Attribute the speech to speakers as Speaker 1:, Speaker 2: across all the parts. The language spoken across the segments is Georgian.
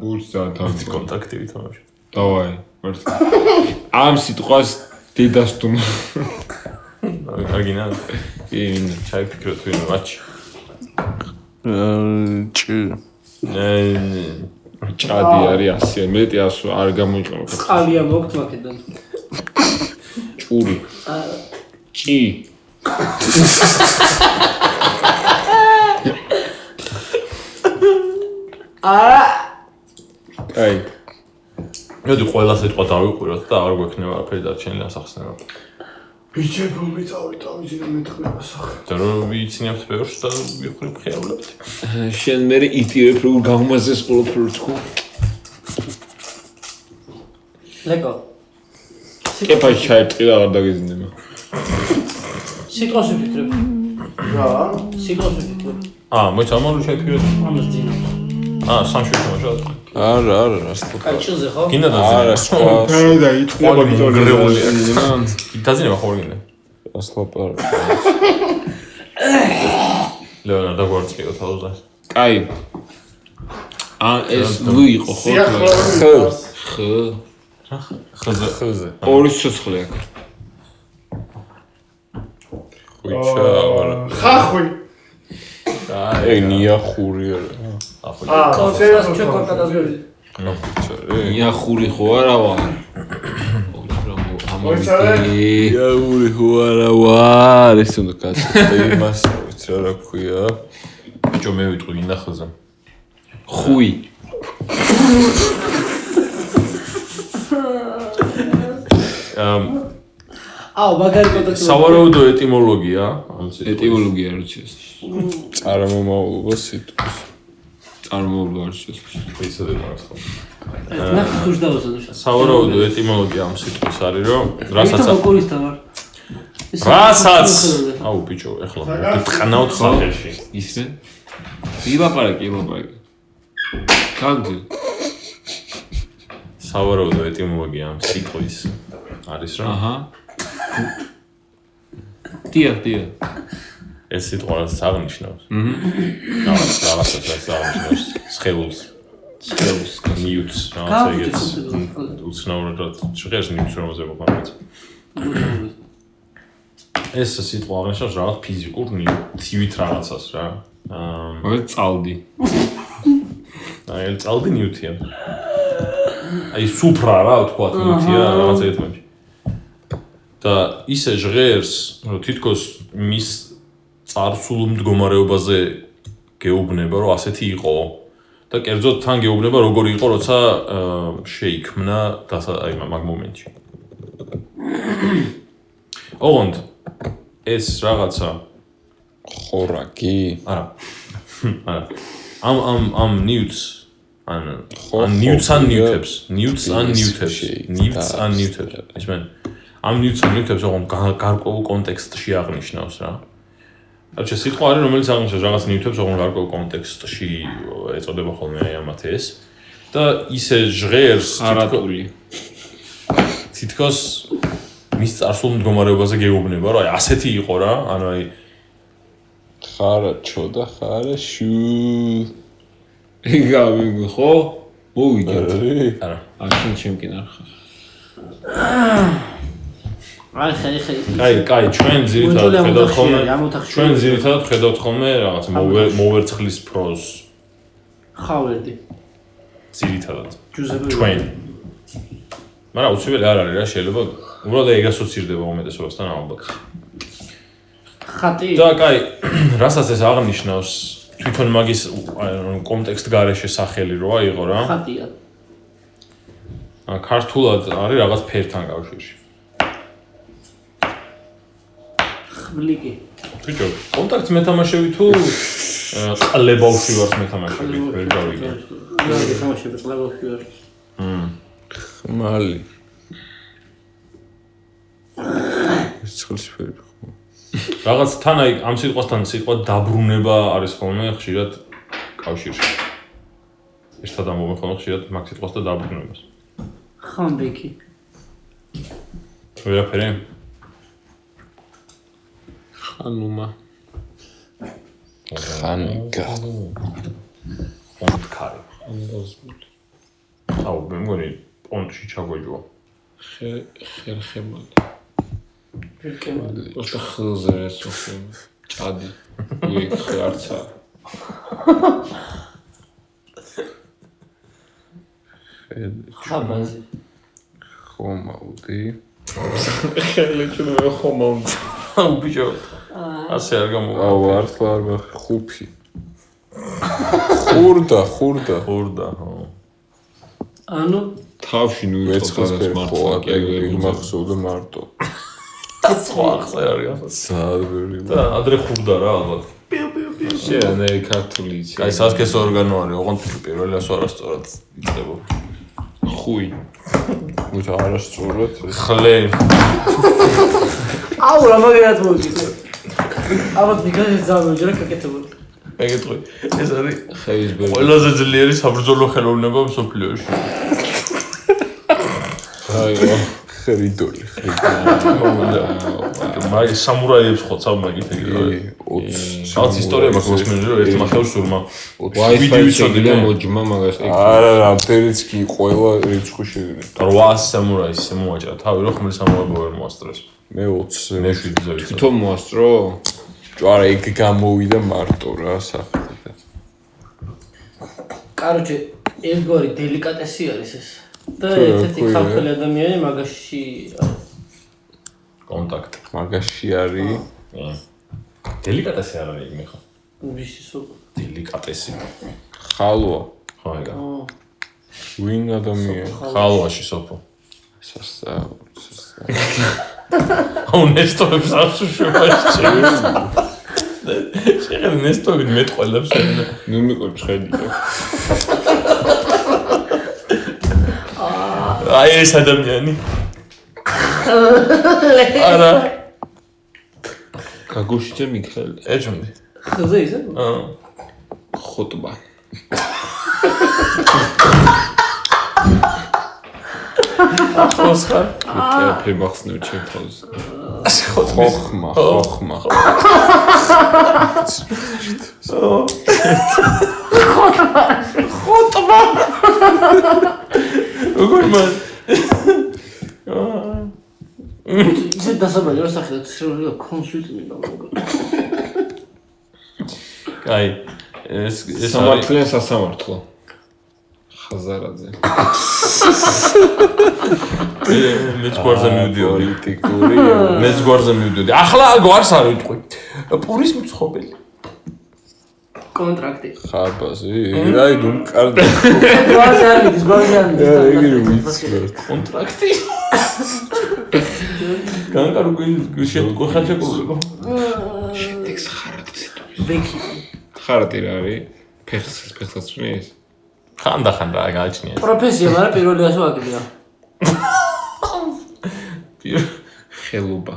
Speaker 1: ბულსა თან.
Speaker 2: ერთი კონტაქტი ვითამაში.
Speaker 1: დავაი, მერტ. ამ სიტყვას დედას თუ
Speaker 2: აგინა
Speaker 1: კი, ვინ
Speaker 2: ჩაიფიქროთ ვინ მატჩი.
Speaker 3: ჭი
Speaker 1: ჭადი არის 100, მეტი 100 არ გამოიყო.
Speaker 4: ყალია მოგვთ მაკედონ.
Speaker 1: ჭური. ჭი.
Speaker 4: არა,
Speaker 1: აი,
Speaker 2: მოდი ყველა სიტყვა დავიყვიროთ და არ გვექნება არაფერი დარჩენილი ასახსნება.
Speaker 5: ბიჭებო მიწავი თავისი რა მეტყნება სახე.
Speaker 2: და რომ ვიცინებთ ბევრს და ვიყრებ ხეავლებთ.
Speaker 1: შენ მე იტირებ როგორ გამომაზეს ყველაფერი თქო.
Speaker 4: ლეკო.
Speaker 1: კეფა ჩაერტყი და არ დაგეძინება.
Speaker 4: სიტყვაში ვფიქრებ.
Speaker 5: რა?
Speaker 4: სიტყვაში ვფიქრებ.
Speaker 2: აა, მოიცა ამალო შეფიროთ.
Speaker 4: ამას ძინა.
Speaker 2: აა, სამში თამაშავთ.
Speaker 3: არა არა რა სიტყვა
Speaker 4: კაი, ჩილზე ხო?
Speaker 2: გინდა და
Speaker 3: არა სხვა
Speaker 1: და იტყობა
Speaker 2: გრეული აქვს. დაზინება ხო გინდა?
Speaker 3: ასლაპარ
Speaker 2: ლეონარდო გვარწიო თავზე.
Speaker 1: კაი. ა ეს ლუ იყო ხო?
Speaker 5: სიახლოვე.
Speaker 1: ხ
Speaker 2: ხზე
Speaker 3: ხოზე
Speaker 1: ორი სიცოცხლე აქვს.
Speaker 3: ხუჩა არა
Speaker 5: ხახვი.
Speaker 3: ეგ ნიახური არა
Speaker 2: ახლა
Speaker 5: აა,
Speaker 4: კონსერვას ჩვენ კონკატაზები.
Speaker 3: ხუჩა რე
Speaker 1: იახური ხო არა ვარ? ამავე
Speaker 3: ნიახური ხო არა ვარ ეს უნდა კაცო იმას ვიცი რა ქვია
Speaker 2: ბიჭო მე ვიტყვი გინდა ხზე.
Speaker 1: ხუი.
Speaker 2: აა,
Speaker 4: აუ, მაგარი კონტაქტი.
Speaker 2: სავარაუდო ეტიმოლოგია ამ სიტყვის.
Speaker 1: ეტიმოლოგია რა ვიცი ეს.
Speaker 3: წარმომავლობა სიტყვა
Speaker 1: წარმოება არ შეიძლება.
Speaker 2: ვიცოდეთ ახლა.
Speaker 4: ნახე ხუშ დავასვენე შას.
Speaker 2: სავარაუდო ეტიმოლოგია ამ სიტყვის არის რომ რასაც
Speaker 4: რასაც აკურისტა ვარ. ეს
Speaker 2: რასაც
Speaker 4: სიტყვაზე.
Speaker 2: აუ ბიჭო ეხლა გიტყნავთ სახეში
Speaker 1: ისე? ილაპარაკი, ილაპარაკი. გამძი.
Speaker 2: სავარაუდო ეტიმოლოგია ამ სიტყვის არის რომ
Speaker 1: აჰა. დიახ, დიახ.
Speaker 2: ეს სიტყვა რაც აღნიშნავს აჰა რაღაც რაღაცას რაც აღნიშნავს სხეულს
Speaker 1: სხეულს.
Speaker 2: ნიუტს რაღაცა
Speaker 4: გავიგე
Speaker 2: ეგეც
Speaker 4: კონსერვას.
Speaker 2: უცნაურად რაც შეღერს ნიუტს რომ ზებობამაც ეს სიტყვა აღნიშნავს რაღაც ფიზიკურ ნიუტივით რაღაცას რა აა
Speaker 1: ორი წალდი.
Speaker 2: აი ელ წალდი ნიუტია აი სუფრა რა თქვა ნიუტია რაღაცა ერთმანეთში და ისე ჟღერს რომ თითქოს მის царსულ მდგომარეობაზე გეუბნება რომ ასეთი იყო და კერძოდ თან გეუბნება როგორი იყო როცა აა, შეიქმნა დასა- აი მაგ მომენტში ოღონდ ეს რაღაცა
Speaker 3: ხორაკი
Speaker 2: არა. არა. ამ ამ ამ ნიუტს ან
Speaker 3: ხო,
Speaker 2: ან
Speaker 3: ხო,
Speaker 2: ნიუტს ან
Speaker 3: ვიდეო.
Speaker 2: ნიუტებს, ნიუტს ან
Speaker 3: ის
Speaker 2: ნიუტებს,
Speaker 3: შეიქმნა,
Speaker 2: ნიუტს ან
Speaker 3: ის
Speaker 2: ნიუტებს. ისმენ. ამ ნიუტს ან ნიუტებს ოღონ გა- გარკვეულ კონტექსტში აღნიშნავს რა. რაც სიტყვა არის რომელიც აღნიშნავს რაღაც ნიუტებს ოღონ გარკვეულ კონტექსტში ეწოდება ხოლმე აი ამათ ეს. და ისე ჟღერს თითქო-
Speaker 1: არატული.
Speaker 2: თითქოს მის წარსულ მდგომარეობაზე გეუბნება რა, აი ასეთი იყო რა, ანუ აი
Speaker 3: ხარა ჩო და ხარა შუ
Speaker 1: ეგავი ხო? მოვიდეთ.
Speaker 3: რი
Speaker 2: არა.
Speaker 1: არ შენ ჩემკენ არ ხარ.
Speaker 4: აი, ხელი ხელი.
Speaker 2: აი, კაი, ჩვენ ძირითადად
Speaker 4: მოდელი ამ
Speaker 2: ხედავთ
Speaker 4: ოთახში
Speaker 2: ხოლმე
Speaker 4: არის, ამ ოთახში
Speaker 2: ჩვენ
Speaker 4: არის.
Speaker 2: ძირითადად ხედავთ ხოლმე რაღაც მოვე- მოვერცხლის პროზ
Speaker 4: ხავერდი.
Speaker 2: ძირითადად
Speaker 4: ჯუზეპე.
Speaker 2: ჩვენ მაგრამ უციველი არ არის რა შეიძლება უბრალოდ ეგ ასოცირდება უმეტესობასთან ალბათ
Speaker 4: ხატი.
Speaker 2: და კაი, რასაც ეს აღნიშნავს თვითონ მაგის აი, რომ კონტექსტ გარეშე სახელი როა იყო რა
Speaker 4: ხატია.
Speaker 2: ა, ქართულად არის რაღაც ფერთან კავშირში
Speaker 4: ხვლიკი.
Speaker 2: ბიჭო კონტაქტს მეთამაშები თუ ა, ყლებავში ვარს მეთამაშები ვერ გავიგე
Speaker 4: მე თამაშები ყლებავში ვარ.
Speaker 3: ხმალი ცხრისფერი
Speaker 2: რაღაც თან აი ამ სიტყვასთან სიტყვა დაბრუნება არის ხოლმე ხშირად კავშირში. ერთად ამბობენ ხოლმე ხშირად მაგ სიტყვას და დაბრუნებას.
Speaker 4: ხამბეკი.
Speaker 2: ვერაფერი?
Speaker 1: ხანუმა.
Speaker 3: ხანი გა
Speaker 2: მომთქარი. თავი, მე მგონი პონტში ჩაგვეჯვა.
Speaker 1: ხერხემალი.
Speaker 4: ვირკემ
Speaker 1: просто ხილზე ეს ხო ჭადი. იქ ხარცა.
Speaker 4: ხაბაზი
Speaker 1: ხომაუდი.
Speaker 2: ელეჩუნე ხომამ. უბიჯო. ასე არ გამოვა.
Speaker 1: აუ ართლა არ მახი ხუფი. ხურდა, ხურდა.
Speaker 2: ხორდა, ხო.
Speaker 4: ანუ
Speaker 6: თავში ნუ
Speaker 1: მეცხეს
Speaker 6: იწყოს
Speaker 1: ფერხო
Speaker 6: მართლა
Speaker 1: აკეგები
Speaker 6: კეგები მახს
Speaker 1: მახსოვდა მარტო.
Speaker 2: და სხვა ხზე არ გამოვა.
Speaker 1: ზადვერი.
Speaker 2: და ადრე ხურდა რა ალბათ.
Speaker 1: შენე ქართული იცი.
Speaker 2: აი სასქესო ორგანო არის, ოღონდ პირველი ასო არასწორად იწება.
Speaker 1: ხუი. მუთ არასწორად.
Speaker 2: ხლე.
Speaker 4: აუ რა მაგერად მოვიკითხე ალბათ მიგაჟე ზავეჯერა გაკეთებული
Speaker 2: ეგეთყვი. ეს არის
Speaker 1: ხეისბერგი.
Speaker 2: ყველაზე ძლიერი საბრძოლო ხელოვნება მსოფლიოში.
Speaker 1: აიო, ხრიდოლი, ხრიდოლი.
Speaker 2: მაგ სამურაიებს ხო წამაგით ეგრევე.
Speaker 1: 20.
Speaker 2: რაღაც ისტორია მაქვს მოსმენილი, რომ ერთმა ხელს ურმა
Speaker 1: Wi-Fi
Speaker 2: ვიდეო
Speaker 1: შეიძლება
Speaker 2: შეგვიძლია
Speaker 1: მოჯმა მაგას ეგ.
Speaker 3: არა, რამდენიც კი ყველა რიცხვი შევიდა.
Speaker 2: 8 სამურაის შემოაჭრა თავი, რომ ხმლის ამოება ვერ მოასწრეს.
Speaker 1: მე 20-ზე.
Speaker 2: მე 7-ზე ვიცი.
Speaker 1: თვითონ მოასწრო? ჯვარა ეგ გამოვიდა მარტო რა სახე.
Speaker 4: კაროჩე ერთგვარი დელიკატესი არის ეს და
Speaker 1: რა
Speaker 4: ერთ-ერთი
Speaker 1: ქვია?
Speaker 4: ქართველი ადამიანი მაგაში
Speaker 2: კონტაქტ.
Speaker 1: მაგაში არის
Speaker 2: დელიკატესი არ არის მე ხო?
Speaker 4: ვისი სულ
Speaker 2: დელიკატესი.
Speaker 1: ხალვა.
Speaker 2: ხო ეგა.
Speaker 4: ო,
Speaker 1: ვინ ადამიანი?
Speaker 2: ხალვაში სოფო.
Speaker 1: სასწაული, სასწაული.
Speaker 2: აუ ნესტოებს არც შეგვაჩი. შეხერ ნესტოები მეტყველებს შეიძლება.
Speaker 1: ნუ მიყვებს ხედია.
Speaker 2: აი ეს ადამიანი. არა,
Speaker 1: გაგუშიძე მიქაელი
Speaker 2: ეჯონდი.
Speaker 4: ხზე ისე
Speaker 2: აა
Speaker 1: ხოტბა.
Speaker 2: ახლოს ხარ?
Speaker 1: ტელეფონი მახსნევ ჩემ თავზე.
Speaker 2: ხო
Speaker 1: ხოხმა, ხოხმა.
Speaker 2: ხოტმა როგორ მან
Speaker 4: ისე დასაბალი რა სახეა ცრილა კონსულტი მინდა
Speaker 2: აი ეს ეს არის
Speaker 1: სამართლიან სასამართლო. ხაზარაძე.
Speaker 2: მე- მეც გვარზე მივდიოდი
Speaker 1: პოლიტიკური.
Speaker 2: მეც გვარზე მივდიოდი ახლა გვარს არ ვიტყვი პურის მცხოველი
Speaker 4: კონტრაქტი
Speaker 1: ხაბაზი. რაი ნუ კარგი.
Speaker 4: გვაჟი არ მიდის გვაჟი არ
Speaker 1: რა,
Speaker 4: მიდის
Speaker 1: იგი ვიცი.
Speaker 2: კონტრაქტი განკარგვი შეგუხაჩეკულიყო
Speaker 4: ბექი
Speaker 1: ხარდი რა არის? ფეხს ფეხსაც წვნის.
Speaker 2: ხანდახან რა გააჩნია
Speaker 4: პროფესია მაგრამ პირველი ასო აკლია
Speaker 2: პირ-
Speaker 1: ხელობა.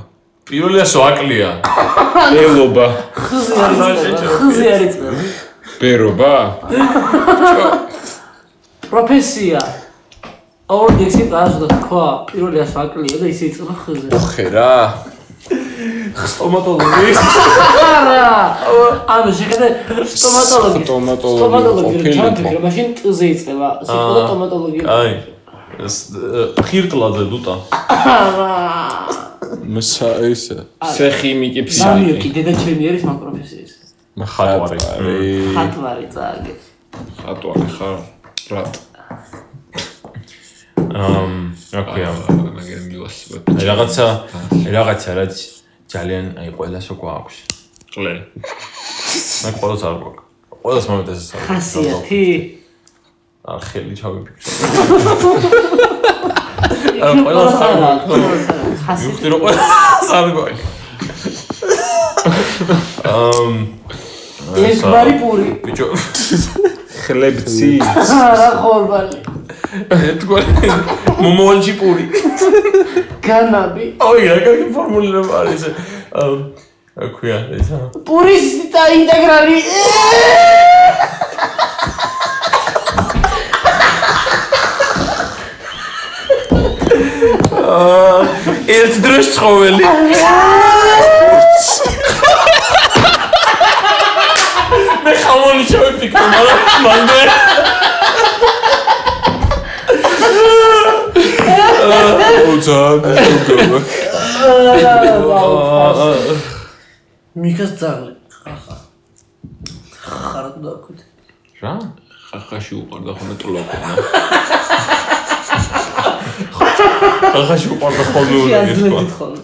Speaker 2: პირველი ასო აკლია
Speaker 1: ელობა.
Speaker 4: ხზე არ
Speaker 2: შეჭრა.
Speaker 4: იწება ხზე არ იწება
Speaker 1: ბერობა?
Speaker 4: პროფესია ორდექსი პლაზა თქვა პირველი ასო აკლია და ისე იწება ხზე
Speaker 1: ხერა.
Speaker 2: სტომატოლოგი
Speaker 4: არა ანუ შეხედე სტომატოლოგი
Speaker 1: სტომატოლოგი
Speaker 4: სტომატოლოგი
Speaker 1: ყოფილიყო.
Speaker 4: ჩანთი მაშინ ტზე იწება სიტყვა
Speaker 2: აა.
Speaker 4: სტომატოლოგი
Speaker 2: აი ეს ე, ხირტლაძე დუტა
Speaker 1: მსა ესა. სეხიმიკი
Speaker 4: სამიოკი
Speaker 1: ფსიქი.
Speaker 4: დედა ჩემი არის მაგ პროფესიის
Speaker 2: ხატვარი.
Speaker 4: ხატვარი წააგე
Speaker 1: ხატვარი ხარ? რატ?
Speaker 2: ამ რა ქვია
Speaker 1: მაგერ მილასებად.
Speaker 2: აი რაღაცა აი რაღაცა რაც ძალიან აი ყველას უკვე აქვს.
Speaker 1: ყლე.
Speaker 2: მე ყველას არ გვაქვს. ყველას მომენტ ეს არის.
Speaker 4: ხასიათი
Speaker 2: არ ხელი ჩავიფიქრე. არა, ყველას არ გვაქვს.
Speaker 4: გვაქვს ხასიათი
Speaker 2: მივხვდი რომ ყველას არ გვაქვს. ამ
Speaker 4: ეს გვარი პური
Speaker 2: ბიჭო
Speaker 1: ხლებცი.
Speaker 4: არა ხორბალი
Speaker 2: ერთგვარი მომოლჯი პური.
Speaker 4: განაბი
Speaker 2: ოი რა კარგი ფორმულირება არის. ამ რა ქვია ესა?
Speaker 4: პურის და ინტეგრალი
Speaker 2: ერთ დროშ ცხოველი. მე ხამონი შევიფიქრე, მაგრამ მანდე
Speaker 1: ძალიან შეგობა.
Speaker 3: მიქას ძაღლი. ხახა. ხარ დაგქვით.
Speaker 2: რა?
Speaker 7: ხახაში უყარდა ხოლმე ტლოკონა.
Speaker 2: ხახაში უყარდა ხოლმე ურები თქვა.
Speaker 3: შეაძლევთ ხოლმე.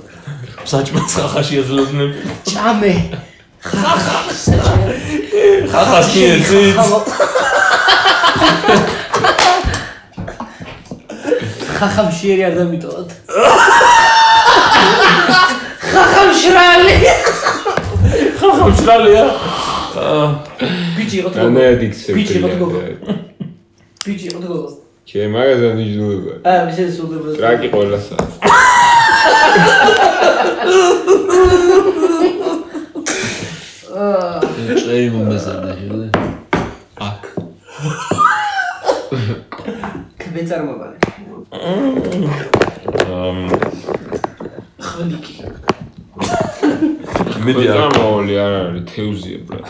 Speaker 2: საჭმელს ხახაში ეძლევდნენ.
Speaker 3: ჭამე.
Speaker 2: ხახას კი ეცით.
Speaker 3: ხახამ შეერი არ დამიტოვათ. ხახამ შრალი.
Speaker 2: ხამშრალია.
Speaker 3: ბიჭი იყო თქო.
Speaker 1: ანაად იქცევ.
Speaker 3: ბიჭი იყო გოგო. ბიჭი იყო თქო.
Speaker 1: ჩემ მაგაზან იჯდება.
Speaker 3: აა მე შეესრულდება.
Speaker 1: ტრაკი ყველასაა.
Speaker 4: წერი მომაზარდა შე.
Speaker 3: ქბეწარმოვანი.
Speaker 2: ამ
Speaker 3: ხვლიკი.
Speaker 2: მედი არ
Speaker 7: გამაოლი არ არის, თევზია, ბრატ.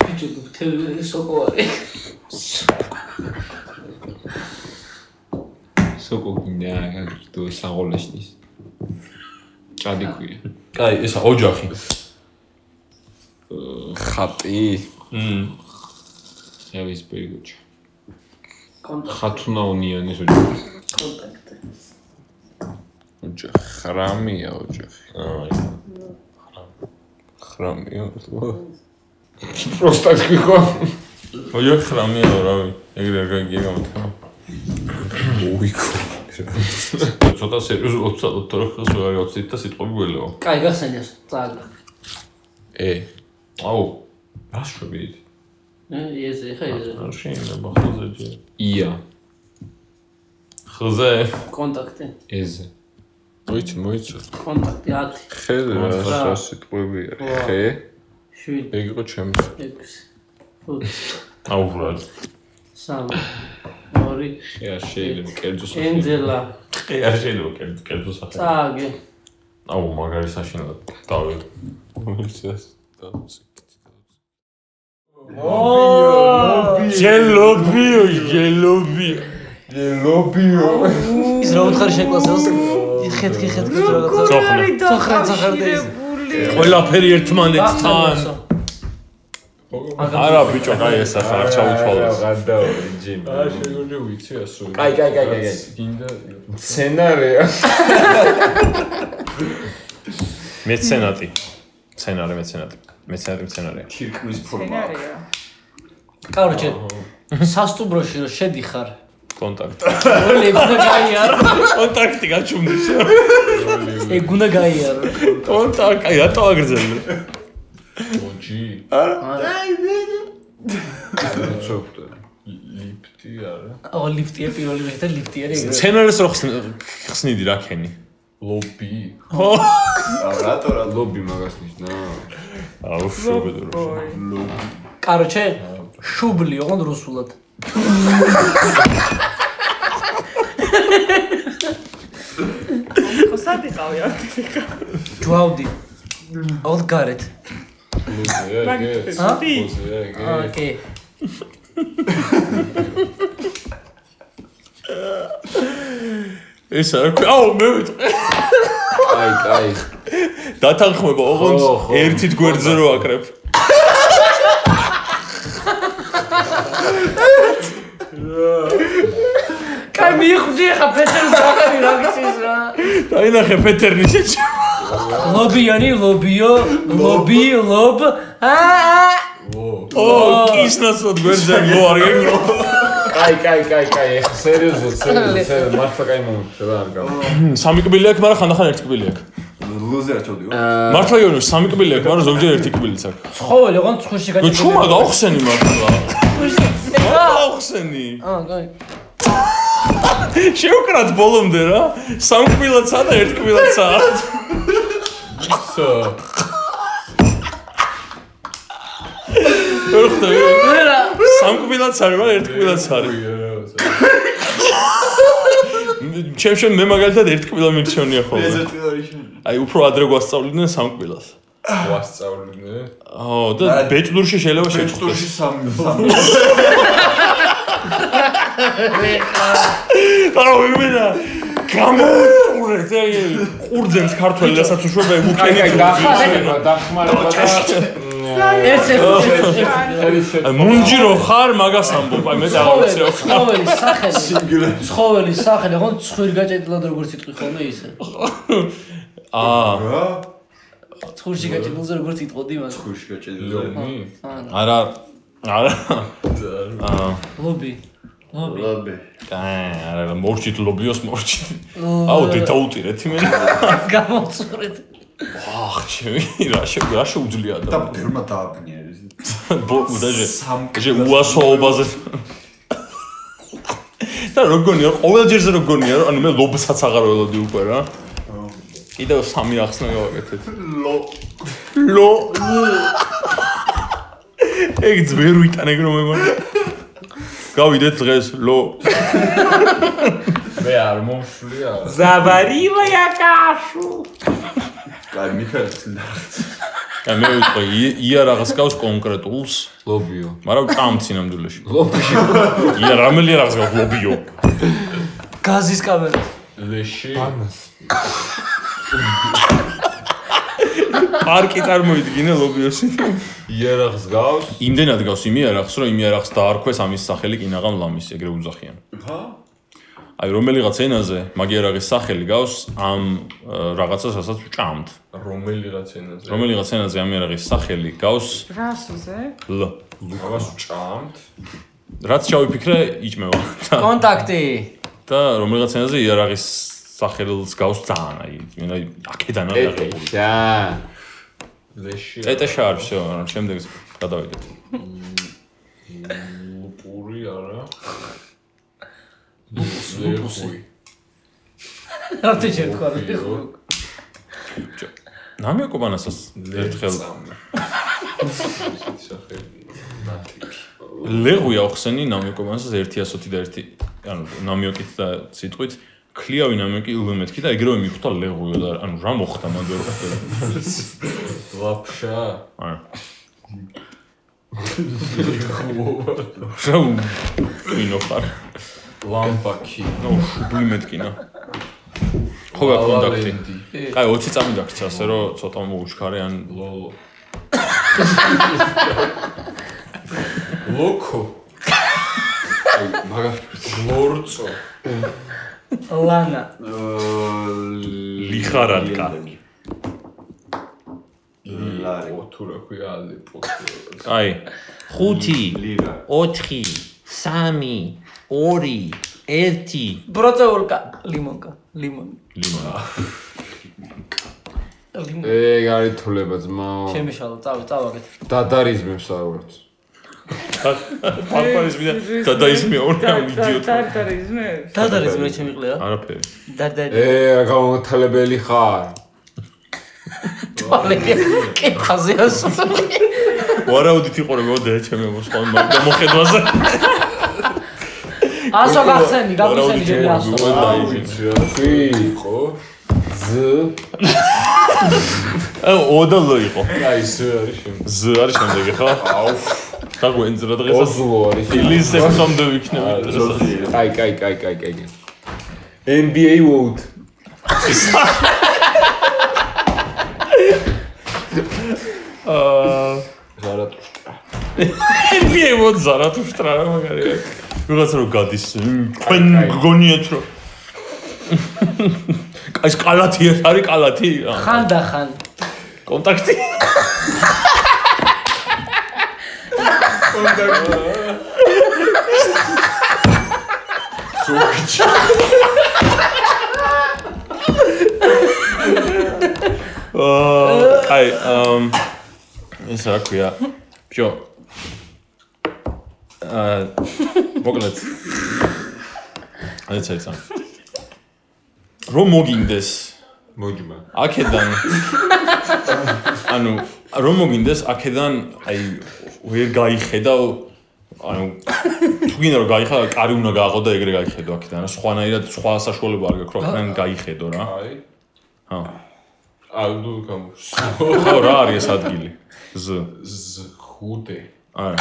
Speaker 3: ბიჭო თელი სოკოვარი.
Speaker 7: სოკო გინდა, თუ საღოლაშნის. ჭადიქვია.
Speaker 2: კაი, ესა ოჯახი.
Speaker 1: ხაპი.
Speaker 2: მმ.
Speaker 7: ხევის პერიოდში.
Speaker 3: კონტაქტი.
Speaker 7: ხათუნაუნიანის ოჯახი.
Speaker 3: კონტაქტი.
Speaker 1: ოჯახი ხრამია ოჯახი.
Speaker 2: აი.
Speaker 1: ხრამია.
Speaker 7: პროსტა გიქო.
Speaker 2: ოჯახი ხრამიაო, რავი. ეგრე არ გაგია გამოთქმა.
Speaker 1: უიკო.
Speaker 2: ცოტა სერიოზულად ვცადოთ, თორე ხელს ვერ გავცით და სიტყვები გველეო.
Speaker 3: კაი გახსენიას წაგა.
Speaker 1: ე.
Speaker 2: აუ, რა შვებით?
Speaker 3: ეს ეხა ეს
Speaker 2: არ შეიძლება ხოზე.
Speaker 7: ია,
Speaker 2: ხოზე.
Speaker 3: კონტაქტი.
Speaker 7: ეზ.
Speaker 1: მოიცი, მოიცი.
Speaker 3: კონტაქტი 10
Speaker 1: ხე რა რა სიტყვები არის? ხე?
Speaker 3: 7
Speaker 1: ეგ იყო ჩემს.
Speaker 3: 6 5
Speaker 2: აუ, რა.
Speaker 3: 3 2
Speaker 7: ხე არ შეიძლება კერძო სახე.
Speaker 3: ენძელა
Speaker 2: კი, არ შეიძლება კერძო კერძო სახე.
Speaker 3: წააგე
Speaker 2: აუ, მაგარი საშინლად დავედ.
Speaker 1: მოიცას. დავწი.
Speaker 2: ჯელობიო, ჯელობიო.
Speaker 1: ლობიო.
Speaker 4: ის რა უთხარ შეკლასელს? ხეთქი ხეთქი რაღაცა.
Speaker 2: წოხნა.
Speaker 4: ცოხრა ცოხრა ის.
Speaker 2: ყველაფერი ერთმანეთთან. არა ბიჭო, აი ეს ახლა არ ჩაუთვალეს.
Speaker 1: გადაორი ჯიმ. აა შეგვიძლია ვიცი ასო.
Speaker 4: კაი, კაი, კაი, კაი, კაი.
Speaker 1: გინდა სცენარია.
Speaker 2: მეცენატი. მცენარე, მეცენატი. მეცენატი მცენარეა.
Speaker 1: ქირკვის ფორმა.
Speaker 8: სცენარია.
Speaker 4: კაროჩე. სასტუმროში რომ შედიხარ.
Speaker 2: კონტაქტი.
Speaker 4: როლი ეგ უნდა გაიარო.
Speaker 2: კონტაქტი გაჩუმდის.
Speaker 4: ეგ უნდა გაიარო.
Speaker 2: კონტაქტი, აი რატო აგრძელე?
Speaker 1: ოჯი. არა. ცოტა. ლიფტი არა.
Speaker 4: ო ლიფტია პირველი რიგში და ლიფტი არის ეგრე.
Speaker 2: მცენარეს რო ხსნ- ხსნიდი რა ქენი?
Speaker 1: ლობი. აა რატო რა ლობი მაგას ნიშნა?
Speaker 2: აუ, შუბედრო.
Speaker 4: კაროჩე შუბლიო on რუსულად.
Speaker 8: ხოსადიყავი არ
Speaker 4: ჯვავდი. ოდ გარეთ.
Speaker 1: ლობია ეგე.
Speaker 8: გიხსნი.
Speaker 1: ლობია ეგე.
Speaker 4: ოკეი.
Speaker 2: ეს არ აქვს. აუ, მე ვიტყვი.
Speaker 1: აი, კაი.
Speaker 2: დათანხმება ოღონდ
Speaker 1: ხო, ხო.
Speaker 2: ერთით გვერდზე რო აკრებ.
Speaker 4: კაი მიხვდი ხა პეტერს აღარი რა გიცის რა.
Speaker 2: დაინახე პეტერნი შეჭა.
Speaker 4: ლობიანი, ლობიო, ლობი, ლობ. აა
Speaker 2: ო, კისნაცად გვერდზე მოარგენო.
Speaker 1: კაი, კაი, კაი, კაი. ეხლა სერიოზულად, სერიოზულად, სერიოზულად მართლა კაი მომენტი რა არ გავა.
Speaker 2: სამი კბილი აქვს, მაგრამ ხანდახან ერთი კბილი აქვს.
Speaker 5: ლუზერ ჩოდიო.
Speaker 2: მართლა იონო, სამი კბილი აქვს, მაგრამ ზოგჯერ ერთი კბილიც აქვს.
Speaker 4: ცხოველი ოღონ ცხვირში
Speaker 2: ნუ
Speaker 4: გაჭირდება.
Speaker 2: ჩუმა გავხსენი მართლა. რა გავხსენი?
Speaker 4: აა გაი.
Speaker 2: შევკრათ ბოლომდე რა. სამი კბილაცა და ერთი კბილაცა.
Speaker 1: სო.
Speaker 2: ვერ ხდება. სამი კბილაცა არის, მაგრამ ერთი კბილაცა არის. ჩემ შენ მე მაგალითად ერთ კბილა მირჩევნია ხოლმე. აი უფრო ადრე გვასწავლიდნენ სამ კბილას.
Speaker 1: ვასწავლინე.
Speaker 2: აო და ბეჭდურში შეიძლება შეწყდეს.
Speaker 5: სამი სამი.
Speaker 2: აუ იმენა გამოუწურეთ აი ყურძენს ქართველასაც უშვებე
Speaker 7: აი,
Speaker 2: უკენი
Speaker 7: დახმარება, დახმარება და
Speaker 3: ერთ ერთ
Speaker 7: ერის შე-
Speaker 2: მუნჯირო ხარ მაგას ამბობ აი მე დავაცეო
Speaker 4: ცხოველის სახელი ცხოველის სახელი ხო ცხვირი გაჭედილად როგორც იტყვი ხოლმე ისე
Speaker 2: აა
Speaker 1: რა?
Speaker 4: ცხვირში გაჭედილზე როგორც იტყოდი მას
Speaker 1: ქუში გაჭედილი.
Speaker 4: ანუ,
Speaker 2: არა არა აა
Speaker 4: ლობი ლობი
Speaker 1: ლაბე.
Speaker 2: კაი არა მორჩით ლობიოს მორჩით აუ დედაუტირეთ იმენა
Speaker 4: გამოვწურეთ
Speaker 2: აღჩევი რა შე რა შეუძლია
Speaker 1: და
Speaker 2: და
Speaker 1: ბერმა დააბნია ეს.
Speaker 2: ბოკუ დაჟე
Speaker 1: სამკ.
Speaker 2: ჟე უასოობაზე და როგგონია ყოველჯერზე როგგონია რომ ანუ მე ლობსაც აღარ ველოდი უკვე რა კიდევ სამი ახსნა გავაკეთეთ ლო ლო ეგ ძვერ ვიტანეგ რომ მე მგონი გავიდეთ დღეს ლო
Speaker 7: მე არ მომშვია.
Speaker 3: ზაბარილა აკაშუ
Speaker 1: კაი, მიქაელ წინდა.
Speaker 2: და მე ვიტყვი ი- ია რაღაც გავს კონკრეტულს
Speaker 7: ლობიო.
Speaker 2: მაგრამ წამ ცინამდვილეში
Speaker 7: ლობიო.
Speaker 2: ია რამელი რაღაც გავს ლობიო
Speaker 4: გაზის კამერა
Speaker 7: ლეში.
Speaker 2: პარკი წარმოიდგინე ლობიოში
Speaker 7: იერახს გავს.
Speaker 2: იმდენად გავს იმიარახს, რომ იმიარახს დაარქვეს ამის სახელი კინაღამ ლამის, ეგრე უძახიან.
Speaker 1: ხა?
Speaker 2: აი რომელიღაც ენაზე მაგიარაღის სახელი გავს ამ ა, რაღაცას, რასაც ვჭამთ.
Speaker 7: რომელიღაც ენაზე.
Speaker 2: რომელიღაც ენაზე ამიარაღის სახელი გავს
Speaker 8: რასზე?
Speaker 2: ლ.
Speaker 7: ამას ვჭამთ.
Speaker 2: რაც შევიფიქრე, იჭმევა. და-
Speaker 4: კონტაქტი
Speaker 2: და რომელიღაც ენაზე იარაღის სახელს გავს ძალიან, აი, მე აი აქედან არ დაღებული.
Speaker 1: შა.
Speaker 7: ლეში.
Speaker 2: ეტეშა არ всё, შემდეგს გადავიდეთ.
Speaker 7: ლუპური არა. ლუპუსი.
Speaker 4: რამდენჯერ თქვა
Speaker 2: ნამიო კობანასას ერთხელ
Speaker 7: სახელი.
Speaker 2: ლეღვია ხსენი ნამიოკომანსას 1.100 და 1 ანუ ნამიოკით და სიტყვით კლიავი ნამიოკი ულმეთქი და ეგრევე მიხვდა ლეღვიო და ანუ რა მოხდა მან ვერ ვახერხე.
Speaker 7: ლაფშა.
Speaker 2: არა შო ვინო ხარ
Speaker 7: ლამპაკი.
Speaker 2: ნო ულმეთკინა ხო რა კონტაქტი კაი 20 წამიდაგც ასე რომ ცოტა მოუჩქარე ან
Speaker 7: ლოლო. ლოკო.
Speaker 1: მაგას
Speaker 7: ლორწო.
Speaker 4: ლანა
Speaker 2: ლიხარალკა.
Speaker 1: ლარი.
Speaker 7: თუ რა ქვია ალეპო.
Speaker 2: კაი
Speaker 9: 5
Speaker 1: ლირა.
Speaker 9: 4 3 2 1
Speaker 4: ბროწეულკა ლიმონკა ლიმონი
Speaker 2: ლიმონი
Speaker 4: ლიმონი
Speaker 9: ეგ არის თულება ძმაო
Speaker 4: შემიშალა წავი წავაგეთ
Speaker 9: დადარიზმებს არ ვართ
Speaker 2: პარპარიზმი და დადაიზმი ორა იდიოტი
Speaker 8: ტარტარიზმებს.
Speaker 4: დადარეს მე შემიყლია
Speaker 2: არაფერი
Speaker 4: დადარი
Speaker 9: ე რა გამოთალებელი ხარ
Speaker 4: კეფაზე ასული
Speaker 2: ვარაუდით იყო რომ მოდე ჩემი მოსყვა გამოხედვაზე
Speaker 4: ასო გახსენი
Speaker 2: ვარაუდით
Speaker 4: გაგიხსენი
Speaker 2: იყო,
Speaker 4: ჩემი ასო
Speaker 2: უკვე დაიჟინე.
Speaker 9: შვი იყო ზ
Speaker 2: აა ოდალო იყო
Speaker 7: აი ეს არის შემ.
Speaker 2: ზ არის შემდეგი ხო აუ და გვენძრა დღესაც
Speaker 9: ოზლო არის
Speaker 2: დილის სექტემბრამდე ვიქნები დღესაც
Speaker 9: კაი კაი კაი კაი კაი NBA vote
Speaker 2: აა
Speaker 9: ზარატუშტა
Speaker 2: NBA ვოთ ზარათუშტრა რა მაგარია ვიღაც რო გადის მ, თქვენ გგონიათ რომ კაი ეს კალათი ეს არის კალათი აა,
Speaker 4: ხანდახან
Speaker 2: კონტაქტი აა, აი, ამ ეს რა ქვია? ბიო. აა, მოკლედ. აი, წაიცა. რომ მოგინდეს
Speaker 7: მოგიმა.
Speaker 2: აქედან ანუ რომ მოგინდეს აქედან აი ვერ გაიხედა ანუ თუ გინდა რომ გაიხედა კარი უნდა გააღო და ეგრე გაიხედო აქედან რა სხვანაირად სხვა საშუალება არ გაქვს რომ აქედან გაიხედო რა
Speaker 7: აი.
Speaker 2: ჰა
Speaker 7: ალდუ გამოს.
Speaker 2: ხო რა არის ეს ადგილი ზ
Speaker 7: ზხუდე.
Speaker 2: არა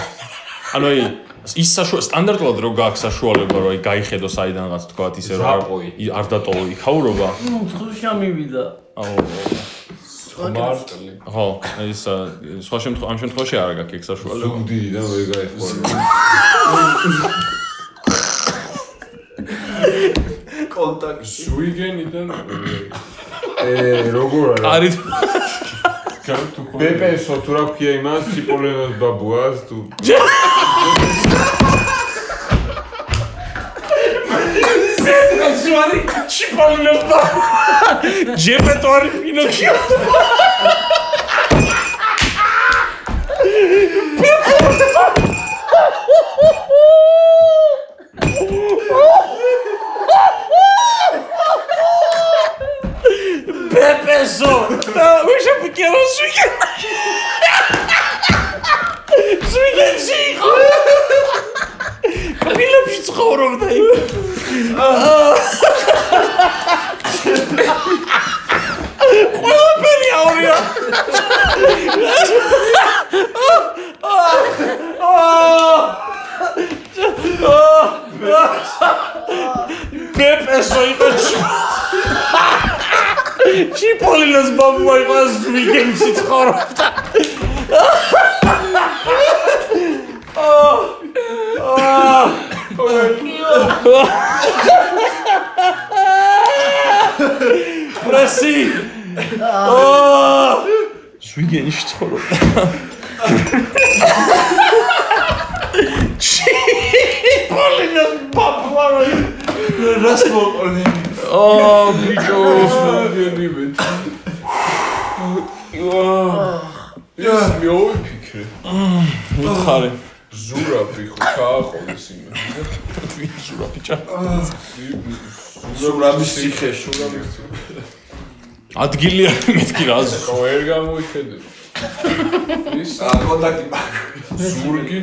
Speaker 2: ანუ აი ის საშუალო სტანდარტულად რო გაქვს საშუალება რომ აი გაიხედოს აიდანღაც თქვა ისე რომ არ-
Speaker 9: ზაპოი.
Speaker 2: ი- არ დატოვო იქაურობა
Speaker 4: უცხოშა მივიდა.
Speaker 2: აუ
Speaker 9: მარტლი
Speaker 2: ხო ეს ა, სხვა შემთხვევაში ამ შემთხვევაში არა გაქვს ეგ საშუალება
Speaker 1: ზუგდი და ვერ გაიხვალე.
Speaker 9: კონტაქტი
Speaker 1: ზუიგენიდან ე როგორ არა?
Speaker 2: არის
Speaker 1: ბეპესო თუ რა ქვია იმას, ციპოლენოს ბაბუას თუ
Speaker 2: ჩიპოლინობა ჯეპეტო არის პინოკიო პეპესო და ვიშა პიკერო შვიგე შვიგეში იყო კაბილებში ცხოვრობდა იქ ყველაფერი აურია. პეპესო იყო ჩი- ჩიპოლინოს ბაბუა იყო ეს ვიგენში ცხოვრობდა. პრესი შვიგენში ცხოვრობდა. ჩიპოლინოს ბაბუა რო იყო.
Speaker 9: რას მოყოლე
Speaker 2: ო ბიჭო
Speaker 1: გენიბეთ. ეს მეოვიფიქრე.
Speaker 2: უთხარი
Speaker 1: ზურაფი ხო ჩააყოლეს იმას.
Speaker 2: ვიჟურა ბიჭო
Speaker 1: ზურაბის ციხე, ზურაბის ციხე.
Speaker 2: ადგილი არ მეთქი რა
Speaker 1: ხო ვერ გამოიხედება. ის
Speaker 9: კონტაქტი
Speaker 1: ზურგი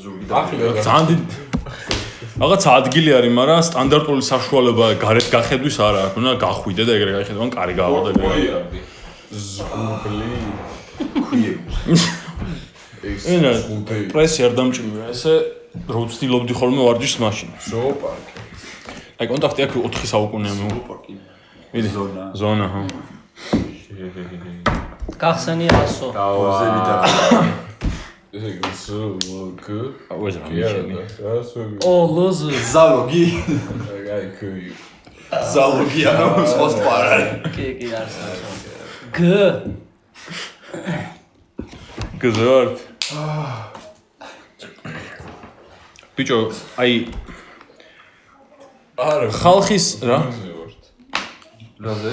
Speaker 9: ზურგი
Speaker 1: ახლე რა.
Speaker 2: ძალიან დიდ რაღაც ადგილი არის მაგრამ სტანდარტული საშუალება გარეთ გახედვის არა აქვს უნდა გახვიდე და ეგრე გაიხედო ან კარი გაავა და ეგრე გაიხედო.
Speaker 1: მოიარდი. ზურგლი. ეს
Speaker 2: ენა
Speaker 1: ზურგი.
Speaker 2: პრესი არ დამჭიმია ესე რო ვცდილობდი ხოლმე ვარჯიშს მაშინ
Speaker 1: ზოოპარკი.
Speaker 2: აი კონტაქტი აქვს 4 საუკუნეა მე ვიდი ზონა ზონა ხო
Speaker 4: გახსენე ასო.
Speaker 9: ოზები და
Speaker 1: ესე იგი ზურგი.
Speaker 2: აუზა
Speaker 1: არა
Speaker 2: მიშენი
Speaker 1: და რას ვები.
Speaker 4: ო ლოზ
Speaker 9: ზალოგი
Speaker 1: აი კი.
Speaker 9: ზალოგი ანუ სხვა სხვა არ არის
Speaker 4: კი კი არის. გ
Speaker 2: გზორთ ბიჭო აი
Speaker 1: არა
Speaker 2: ხალხის რა
Speaker 1: ხალხზე ვარ.
Speaker 9: რაზე